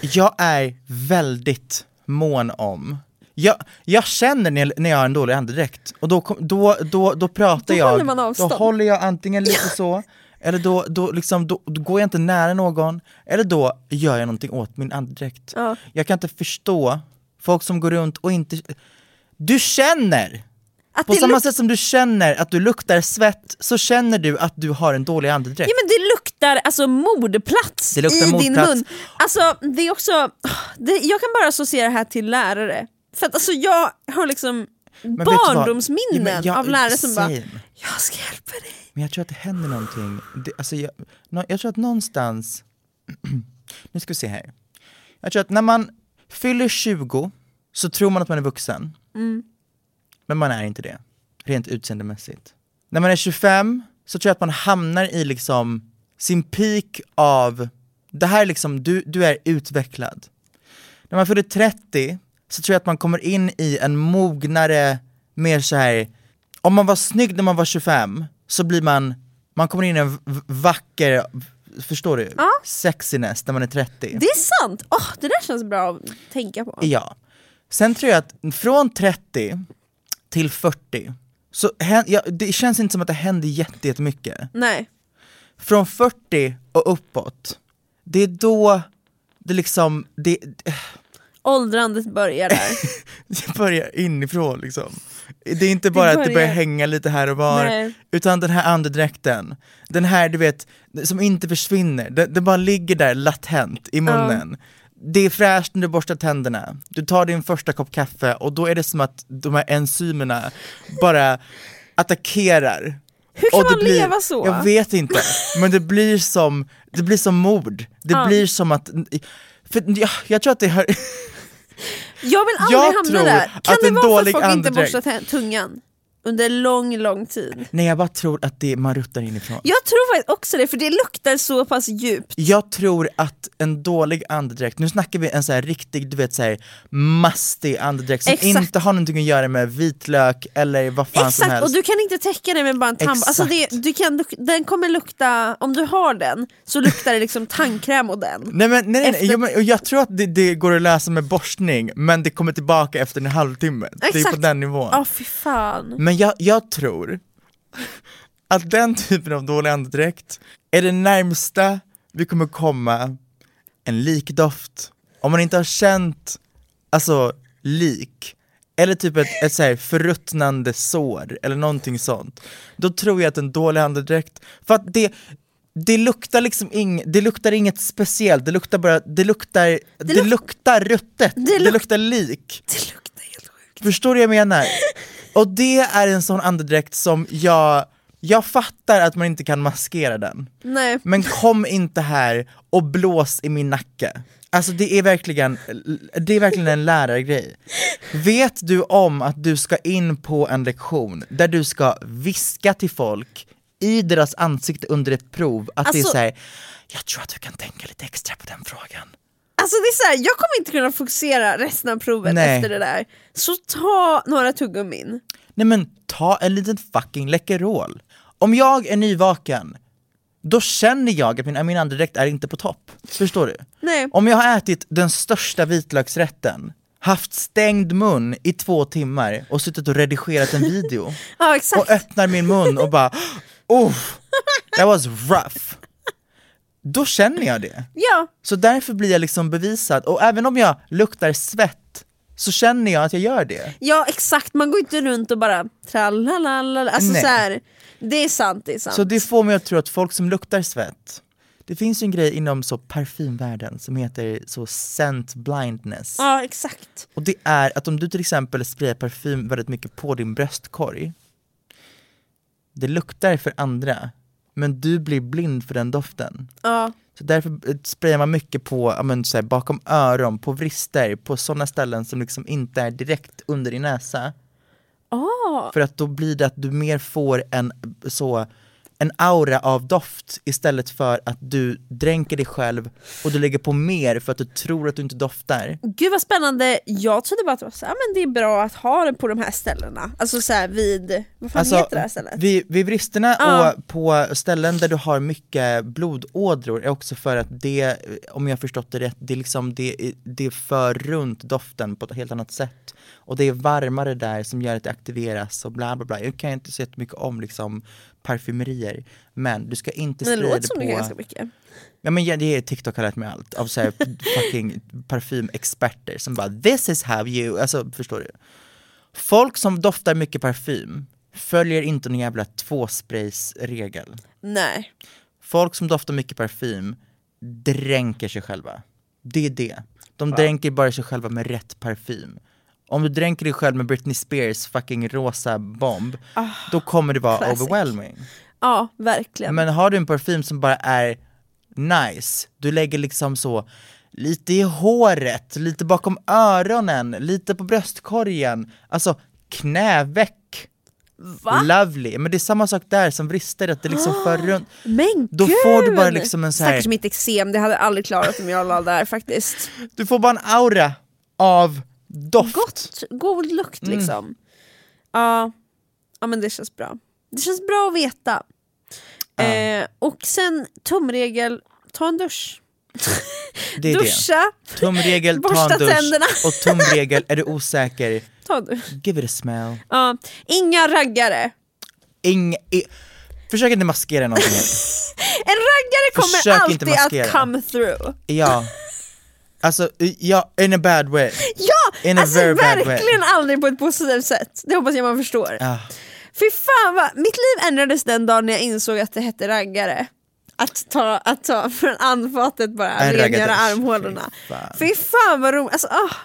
[SPEAKER 2] jag är väldigt mån om, Jag, jag känner när jag, när jag har en dålig andedräkt, och då, kom- då, då, då pratar
[SPEAKER 3] Då
[SPEAKER 2] jag,
[SPEAKER 3] håller man
[SPEAKER 2] då
[SPEAKER 3] avstånd.
[SPEAKER 2] håller jag antingen lite så, eller då, då, liksom, då, då går jag inte nära någon, eller då gör jag någonting åt min andedräkt. Jag kan inte förstå folk som går runt och inte... Du känner!
[SPEAKER 3] Att
[SPEAKER 2] På
[SPEAKER 3] det
[SPEAKER 2] samma
[SPEAKER 3] luk-
[SPEAKER 2] sätt som du känner att du luktar svett, så känner du att du har en dålig andedräkt.
[SPEAKER 3] Ja, men det luktar alltså mordplats
[SPEAKER 2] Det luktar
[SPEAKER 3] i din
[SPEAKER 2] mordplats.
[SPEAKER 3] mun. Alltså, det är också, det, jag kan bara associera det här till lärare. För att alltså, jag har liksom
[SPEAKER 2] Men vet du vad? Ja,
[SPEAKER 3] barndomsminnen
[SPEAKER 2] men jag-
[SPEAKER 3] av lärare som bara
[SPEAKER 2] same.
[SPEAKER 3] “jag ska hjälpa dig”.
[SPEAKER 2] Men jag tror att det händer någonting. Det, alltså jag, nå- jag tror att någonstans... nu ska vi se här. Jag tror att när man fyller 20 så tror man att man är vuxen. Men man är inte det, rent utseendemässigt. När man är 25 så tror jag att man hamnar i liksom sin peak av, det här är liksom, du, du är utvecklad. När man fyller 30 så tror jag att man kommer in i en mognare, mer så här om man var snygg när man var 25 så blir man, man kommer in i en v- vacker, v- förstår du? Sexiness när man är 30.
[SPEAKER 3] Det är sant! Åh, det där känns bra att tänka på.
[SPEAKER 2] Ja. Sen tror jag att från 30 till 40, så hän- ja, det känns inte som att det händer jätte- jättemycket.
[SPEAKER 3] Nej.
[SPEAKER 2] Från 40 och uppåt, det är då det liksom, det,
[SPEAKER 3] Åldrandet börjar där.
[SPEAKER 2] det börjar inifrån liksom. Det är inte bara att det börjar
[SPEAKER 3] börjar-
[SPEAKER 2] hänga lite här och var,
[SPEAKER 3] Nej.
[SPEAKER 2] utan den här andedräkten, den här du vet, som inte försvinner, den, den bara ligger där latent i munnen. Det är fräscht när du borstar tänderna, du tar din första kopp kaffe och då är det som att de här enzymerna bara attackerar. Hur
[SPEAKER 3] kan man leva så?
[SPEAKER 2] Jag vet inte, men det blir som, det blir som mord. Det blir som att, för jag, jag tror att det hör,
[SPEAKER 3] Jag vill aldrig
[SPEAKER 2] Jag
[SPEAKER 3] hamna
[SPEAKER 2] tror
[SPEAKER 3] där. Kan
[SPEAKER 2] att
[SPEAKER 3] det
[SPEAKER 2] en
[SPEAKER 3] vara för
[SPEAKER 2] dålig
[SPEAKER 3] att folk inte
[SPEAKER 2] andedräkt-
[SPEAKER 3] borstar tä- tungan under lång, lång tid?
[SPEAKER 2] nej jag bara tror att det, man ruttar inifrån.
[SPEAKER 3] Jag tror faktiskt också det, för det luktar så pass djupt.
[SPEAKER 2] Jag tror att en dålig andedräkt, nu snackar vi en så här riktig, du vet så här mastig andedräkt som
[SPEAKER 3] Exakt.
[SPEAKER 2] inte har någonting att göra med vitlök eller vad fan som
[SPEAKER 3] Exakt,
[SPEAKER 2] helst.
[SPEAKER 3] och du kan inte täcka det med bara en tand.
[SPEAKER 2] Exakt.
[SPEAKER 3] Alltså det, du kan, luk- den kommer lukta, om du har den, så luktar det liksom tandkräm och den.
[SPEAKER 2] Nej men nej, nej, nej.
[SPEAKER 3] Efter-
[SPEAKER 2] Jag, men, och jag tror att det, det går att lösa med borstning, men det kommer tillbaka efter en halvtimme. Det är på
[SPEAKER 3] Exakt.
[SPEAKER 2] den nivån.
[SPEAKER 3] Ja, fy fan.
[SPEAKER 2] Men jag, jag tror att den typen av dålig andedräkt är det närmsta vi kommer komma en likdoft. Om man inte har känt, alltså lik, eller typ ett, ett så här förruttnande sår eller någonting sånt, då tror jag att en dålig andedräkt, för att det det luktar liksom ing, det luktar inget speciellt, det luktar bara, det luktar, det,
[SPEAKER 3] luk-
[SPEAKER 2] luktar ruttet, det
[SPEAKER 3] Det luk-
[SPEAKER 2] luktar lik.
[SPEAKER 3] Det luktar helt sjukt.
[SPEAKER 2] Förstår du vad jag menar? Och det är en sån andedräkt som jag, jag fattar att man inte kan maskera den.
[SPEAKER 3] Nej.
[SPEAKER 2] Men kom inte här och blås i min nacke. Alltså det är verkligen, det är verkligen en lärargrej. Vet du om att du ska in på en lektion där du ska viska till folk i deras ansikte under ett prov att det är
[SPEAKER 3] Alltså-
[SPEAKER 2] såhär, jag tror att du kan tänka lite extra på den frågan.
[SPEAKER 3] Alltså det är så här, jag kommer inte kunna fokusera resten av provet
[SPEAKER 2] Nej.
[SPEAKER 3] efter det där. Så ta några tuggummin.
[SPEAKER 2] Nej men ta en liten fucking Läkerol. Om jag är nyvaken, då känner jag att min, min andedräkt är inte på topp. Förstår du?
[SPEAKER 3] Nej.
[SPEAKER 2] Om jag har ätit den största vitlöksrätten, haft stängd mun i två timmar och suttit och redigerat en video
[SPEAKER 3] Ja, exakt.
[SPEAKER 2] och öppnar min mun och bara Uff, that was rough. Då känner jag det.
[SPEAKER 3] Ja,
[SPEAKER 2] Så därför blir jag liksom bevisad. Och även om jag luktar svett så känner jag att jag gör det.
[SPEAKER 3] ja, exakt. Man går inte runt och bara tralalala. Alltså
[SPEAKER 2] Nej.
[SPEAKER 3] så här, det är sant, det är sant.
[SPEAKER 2] Så det får mig att tro att folk som luktar svett, det finns ju en grej inom så parfymvärlden som heter så scent blindness.
[SPEAKER 3] Ja, exakt.
[SPEAKER 2] Och det är att om du till exempel sprayar parfym väldigt mycket på din bröstkorg, det luktar för andra, men du blir blind för den doften.
[SPEAKER 3] Ja.
[SPEAKER 2] Så därför eh, sprayar man mycket på, ja, men, så här, bakom öron, på vrister, på sådana ställen som liksom inte är direkt under din näsa. För att då blir det att du mer får en, så, en aura av doft istället för att du dränker dig själv och du lägger på mer för att du tror att du inte doftar.
[SPEAKER 3] Gud vad spännande, jag trodde bara att det, var så här, "Ah, men det är bra att ha den på de här ställena. Alltså så här vid, vad fan
[SPEAKER 2] Alltså,
[SPEAKER 3] heter det här stället? Ah.
[SPEAKER 2] vid, vid vristerna
[SPEAKER 3] Ja.
[SPEAKER 2] och på ställen där du har mycket blodådror är också för att det, om jag har förstått det rätt, det, är liksom, det, det för runt doften på ett helt annat sätt. och det är varmare där som gör att det aktiveras och bla bla bla. Jag kan inte säga mycket om liksom parfymerier, men du ska inte
[SPEAKER 3] Men det
[SPEAKER 2] sprida
[SPEAKER 3] låter som
[SPEAKER 2] på...
[SPEAKER 3] det ganska mycket.
[SPEAKER 2] Ja men ja, det är TikTok har lärt mig allt, av såhär fucking parfymexperter som bara this is how you, alltså förstår du? Folk som doftar mycket parfym följer inte någon jävla tvåspraysregel.
[SPEAKER 3] Nej.
[SPEAKER 2] Folk som doftar mycket parfym dränker sig själva. Det är det. De dränker bara sig själva med rätt parfym. Om du dränker dig själv med Britney Spears fucking rosa bomb, då kommer det vara
[SPEAKER 3] classic.
[SPEAKER 2] overwhelming.
[SPEAKER 3] Ja, verkligen.
[SPEAKER 2] Men har du en parfym som bara är nice, du lägger liksom så lite i håret, lite bakom öronen, lite på bröstkorgen, alltså knäveck.
[SPEAKER 3] Va?
[SPEAKER 2] Lovely, men det är samma sak där som vrister att det liksom för runt.
[SPEAKER 3] Men
[SPEAKER 2] Då
[SPEAKER 3] gud!
[SPEAKER 2] får du bara liksom en så här-
[SPEAKER 3] Stackars mitt eksem, det hade jag aldrig klarat om jag la där faktiskt.
[SPEAKER 2] Du får bara en aura av doft.
[SPEAKER 3] Gott, god lukt
[SPEAKER 2] Mm.
[SPEAKER 3] liksom. Ja. ja, men det känns bra. Det känns bra att veta. Eh, och sen tumregel, ta en dusch.
[SPEAKER 2] Det är
[SPEAKER 3] Duscha,
[SPEAKER 2] det. Tumregel, ta
[SPEAKER 3] Borsta
[SPEAKER 2] en dusch
[SPEAKER 3] tänderna.
[SPEAKER 2] och tumregel, är du osäker,
[SPEAKER 3] ta en dusch.
[SPEAKER 2] give it a smell.
[SPEAKER 3] Ja. Inga raggare.
[SPEAKER 2] Ing, i, försök inte maskera någonting. här.
[SPEAKER 3] En raggare kommer
[SPEAKER 2] Försök inte
[SPEAKER 3] alltid att
[SPEAKER 2] maskera.
[SPEAKER 3] come through.
[SPEAKER 2] Ja. Alltså, ja, in a bad way.
[SPEAKER 3] Ja,
[SPEAKER 2] In a
[SPEAKER 3] alltså
[SPEAKER 2] very bad way. Ah.
[SPEAKER 3] verkligen aldrig på ett positivt sätt. Det hoppas jag man förstår.
[SPEAKER 2] Ja.
[SPEAKER 3] Fy fan vad, mitt liv ändrades den dagen när jag insåg att det hette raggare. Att ta, att ta från anfatet bara,
[SPEAKER 2] En
[SPEAKER 3] rengöra
[SPEAKER 2] raggardusch.
[SPEAKER 3] armhålorna.
[SPEAKER 2] Fy fan.
[SPEAKER 3] Fy fan vad roligt, alltså ah,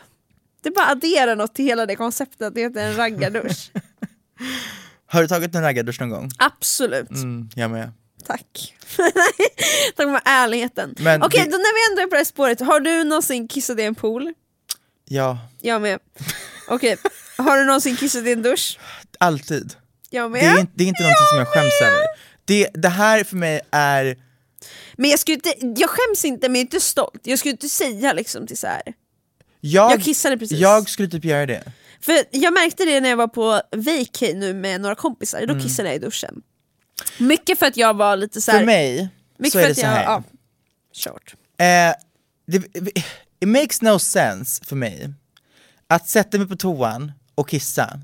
[SPEAKER 3] Det bara adderar något till hela det konceptet att det heter en raggardusch.
[SPEAKER 2] Har du tagit en raggardusch någon gång?
[SPEAKER 3] Absolut,
[SPEAKER 2] Mm, jag med.
[SPEAKER 3] tack. Tack för ärligheten. Okej,
[SPEAKER 2] Men
[SPEAKER 3] då
[SPEAKER 2] det-
[SPEAKER 3] när vi ändå är på det här spåret, har du någonsin kissat i en pool?
[SPEAKER 2] Ja,
[SPEAKER 3] Jag med. Okej, har du någonsin kissat i en dusch?
[SPEAKER 2] alltid.
[SPEAKER 3] Jag med.
[SPEAKER 2] Det är, inte- det är inte någonting som jag skäms över. Det, det här för mig är,
[SPEAKER 3] Men jag, skulle inte, jag skäms inte men jag är inte stolt. Jag skulle inte säga liksom till så här.
[SPEAKER 2] jag,
[SPEAKER 3] Jag kissade precis.
[SPEAKER 2] jag skulle typ göra det.
[SPEAKER 3] För jag märkte det när jag var på vacay nu med några kompisar, då kissade jag i duschen. Mycket för att jag var lite så här.
[SPEAKER 2] Mm. För mig
[SPEAKER 3] mycket
[SPEAKER 2] så är
[SPEAKER 3] för
[SPEAKER 2] det
[SPEAKER 3] att
[SPEAKER 2] så
[SPEAKER 3] jag,
[SPEAKER 2] här.
[SPEAKER 3] Ja, short.
[SPEAKER 2] Eh, det, it makes no sense för mig att sätta mig på toan och kissa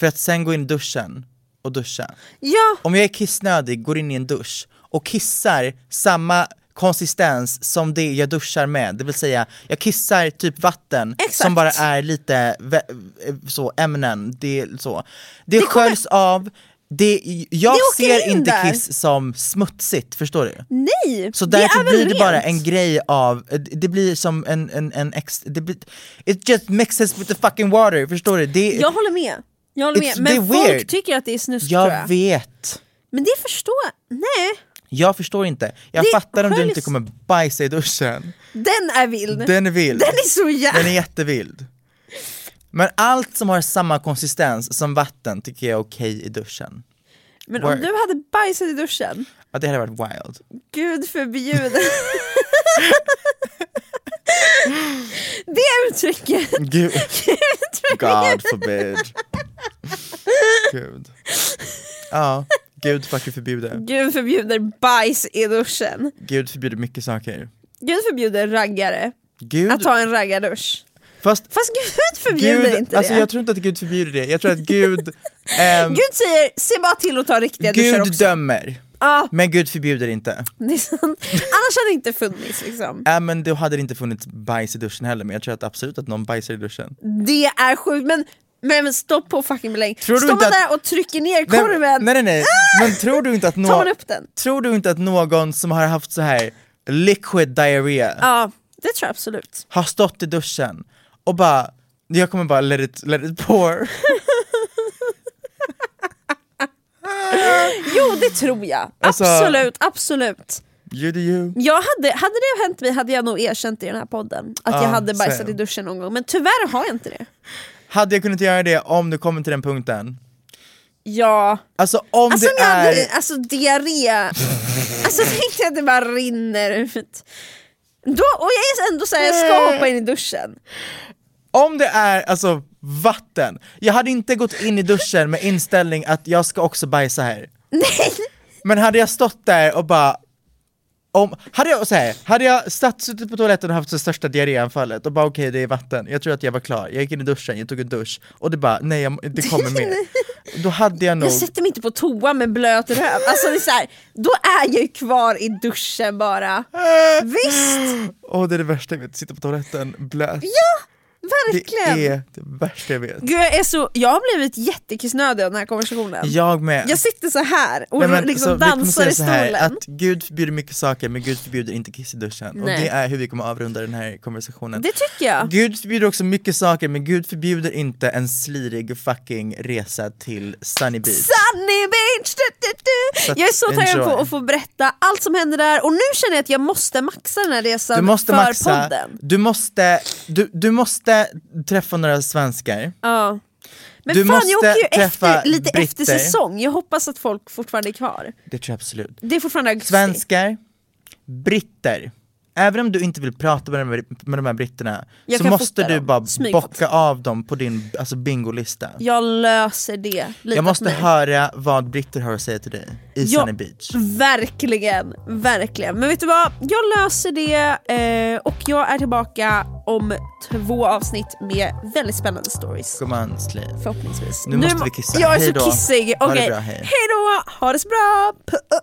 [SPEAKER 2] för att sen gå in i duschen och duscha.
[SPEAKER 3] Ja,
[SPEAKER 2] Om jag är kissnödig, går in i en dusch och kissar samma konsistens som det jag duschar med, det vill säga jag kissar typ vatten
[SPEAKER 3] Exakt.
[SPEAKER 2] som bara är lite vä- så ämnen, det är så. Det, sköljs av, det, jag
[SPEAKER 3] Det åker
[SPEAKER 2] ser
[SPEAKER 3] in
[SPEAKER 2] inte
[SPEAKER 3] där.
[SPEAKER 2] kiss som smutsigt, förstår du?
[SPEAKER 3] nej!
[SPEAKER 2] Så
[SPEAKER 3] det
[SPEAKER 2] därför
[SPEAKER 3] är väl
[SPEAKER 2] blir det bara
[SPEAKER 3] rent.
[SPEAKER 2] en grej av, det blir som en, en, en ex, det blir, it just mixes with the fucking water, förstår du? Det,
[SPEAKER 3] Jag håller med. Jag håller med.
[SPEAKER 2] It's-
[SPEAKER 3] Men
[SPEAKER 2] det är
[SPEAKER 3] folk
[SPEAKER 2] weird.
[SPEAKER 3] tycker att det är snusk tror
[SPEAKER 2] jag
[SPEAKER 3] jag.
[SPEAKER 2] vet,
[SPEAKER 3] Men det förstår nej.
[SPEAKER 2] jag förstår inte. Jag
[SPEAKER 3] Det
[SPEAKER 2] fattar om du
[SPEAKER 3] sköljs-
[SPEAKER 2] inte kommer bajsa i duschen.
[SPEAKER 3] Den är vild. Den,
[SPEAKER 2] Den är vild.
[SPEAKER 3] är så jävla...
[SPEAKER 2] Den är jättevild. Men allt som har samma konsistens som vatten tycker jag är okej i duschen.
[SPEAKER 3] Men om
[SPEAKER 2] Word.
[SPEAKER 3] du hade bajsat i duschen,
[SPEAKER 2] Ja, det hade varit wild.
[SPEAKER 3] Gud förbjude. det uttrycket.
[SPEAKER 2] Gud. God forbid. Gud. Ja, Gud fucking förbjuder.
[SPEAKER 3] Gud förbjuder bajs i duschen.
[SPEAKER 2] Gud förbjuder mycket saker.
[SPEAKER 3] Gud förbjuder raggare
[SPEAKER 2] Gud,
[SPEAKER 3] att ta en raggardusch.
[SPEAKER 2] fast
[SPEAKER 3] Fast Gud förbjuder
[SPEAKER 2] Gud,
[SPEAKER 3] inte
[SPEAKER 2] alltså
[SPEAKER 3] det.
[SPEAKER 2] jag tror inte att Gud förbjuder det. Jag tror att Gud, ehm,
[SPEAKER 3] Gud säger se bara till att ta riktiga duschar
[SPEAKER 2] Gud
[SPEAKER 3] också.
[SPEAKER 2] dömer.
[SPEAKER 3] Ja,
[SPEAKER 2] Men Gud förbjuder inte.
[SPEAKER 3] det är sant. Annars hade det inte funnits liksom.
[SPEAKER 2] Äh, men då hade det inte funnits bajs i duschen heller, men jag tror att absolut att någon bajsar i duschen.
[SPEAKER 3] Det är sjukt men, men men stopp på fucking belägg.
[SPEAKER 2] Tror du
[SPEAKER 3] Står man
[SPEAKER 2] inte att-
[SPEAKER 3] där och trycker ner
[SPEAKER 2] Nej,
[SPEAKER 3] korven,
[SPEAKER 2] Nej nej nej, men tror du inte att
[SPEAKER 3] Ah! tar man
[SPEAKER 2] någon,
[SPEAKER 3] upp den.
[SPEAKER 2] tror du inte att någon som har haft så här liquid diarrhea
[SPEAKER 3] Ja, det tror jag absolut.
[SPEAKER 2] har stått i duschen och bara, jag kommer bara let it, let it pour.
[SPEAKER 3] Jo det tror jag,
[SPEAKER 2] Alltså-
[SPEAKER 3] absolut, absolut.
[SPEAKER 2] You do you.
[SPEAKER 3] Jag hade, hade det hänt mig hade jag nog erkänt i den här podden att jag
[SPEAKER 2] Ja,
[SPEAKER 3] hade bajsat
[SPEAKER 2] same.
[SPEAKER 3] i duschen någon gång, men tyvärr har jag inte det.
[SPEAKER 2] Hade jag kunnat göra det om du kommer till den punkten?
[SPEAKER 3] Ja,
[SPEAKER 2] Alltså om
[SPEAKER 3] alltså,
[SPEAKER 2] det
[SPEAKER 3] jag
[SPEAKER 2] är...
[SPEAKER 3] hade, alltså diarré, alltså tänkte jag att det bara rinner ut. Då, och jag är ändå såhär, jag ska hoppa in i duschen.
[SPEAKER 2] Om det är alltså vatten, jag hade inte gått in i duschen med inställning att jag ska också bajsa här.
[SPEAKER 3] Nej,
[SPEAKER 2] Men hade jag stått där och bara om, hade jag, så här, hade jag satt, suttit på toaletten och haft det största diarréanfallet och bara okej det är vatten, jag tror att jag var klar, jag gick in i duschen, jag tog en dusch och det bara nej jag, det kommer mer. Då hade jag nog,
[SPEAKER 3] Jag sätter mig inte på toa med blöt röv. Alltså det är så här, då är jag ju kvar i duschen bara. Visst,
[SPEAKER 2] åh det är det värsta jag vet, sitta på toaletten blöt.
[SPEAKER 3] verkligen.
[SPEAKER 2] Det är det värsta jag vet.
[SPEAKER 3] Gud, jag, är så, jag har blivit jättekissnödig av den här konversationen.
[SPEAKER 2] Jag med.
[SPEAKER 3] Jag sitter så här och
[SPEAKER 2] Nej, men,
[SPEAKER 3] liksom
[SPEAKER 2] så vi kommer
[SPEAKER 3] dansar
[SPEAKER 2] säga
[SPEAKER 3] i
[SPEAKER 2] så här,
[SPEAKER 3] stolen.
[SPEAKER 2] Att Gud förbjuder mycket saker men Gud förbjuder inte kiss i duschen. Och
[SPEAKER 3] Nej.
[SPEAKER 2] det är hur vi kommer avrunda den här konversationen.
[SPEAKER 3] Det tycker jag.
[SPEAKER 2] Gud förbjuder också mycket saker men Gud förbjuder inte en slirig fucking resa till Sunny Beach.
[SPEAKER 3] Sunny Beach! Du, du,
[SPEAKER 2] Så
[SPEAKER 3] du.
[SPEAKER 2] att
[SPEAKER 3] Jag är så taggad
[SPEAKER 2] enjoy.
[SPEAKER 3] på att få berätta allt som händer där och nu känner jag att jag måste maxa den här resan
[SPEAKER 2] Du måste
[SPEAKER 3] för
[SPEAKER 2] maxa,
[SPEAKER 3] podden.
[SPEAKER 2] du måste, du, du måste träffa några svenskar.
[SPEAKER 3] Ja. Men
[SPEAKER 2] Du
[SPEAKER 3] fan
[SPEAKER 2] måste
[SPEAKER 3] jag åker ju
[SPEAKER 2] träffa
[SPEAKER 3] efter, lite
[SPEAKER 2] britter.
[SPEAKER 3] efter säsong, jag hoppas att folk fortfarande är kvar.
[SPEAKER 2] Det tror jag absolut.
[SPEAKER 3] Det är fortfarande augusti.
[SPEAKER 2] Svenskar, britter. Även om du inte vill prata med de här, med de här britterna
[SPEAKER 3] Jag
[SPEAKER 2] så
[SPEAKER 3] kan
[SPEAKER 2] måste
[SPEAKER 3] fota
[SPEAKER 2] du
[SPEAKER 3] dem.
[SPEAKER 2] bara
[SPEAKER 3] Smygfota.
[SPEAKER 2] bocka av dem på din alltså, bingolista.
[SPEAKER 3] Jag löser det. Lita
[SPEAKER 2] Jag måste
[SPEAKER 3] på mig.
[SPEAKER 2] höra vad britter har att säga till dig i
[SPEAKER 3] Ja.
[SPEAKER 2] Sunny Beach.
[SPEAKER 3] Verkligen, verkligen. Men vet du vad? Jag löser det eh, och jag är tillbaka om två avsnitt med väldigt spännande stories.
[SPEAKER 2] Gumman, slay.
[SPEAKER 3] Förhoppningsvis.
[SPEAKER 2] Nu måste vi kissa.
[SPEAKER 3] Jag är
[SPEAKER 2] Hej då.
[SPEAKER 3] så kissig.
[SPEAKER 2] Ha det
[SPEAKER 3] Okej,
[SPEAKER 2] bra, hej.
[SPEAKER 3] hej då. Ha det så bra. uh, Puss.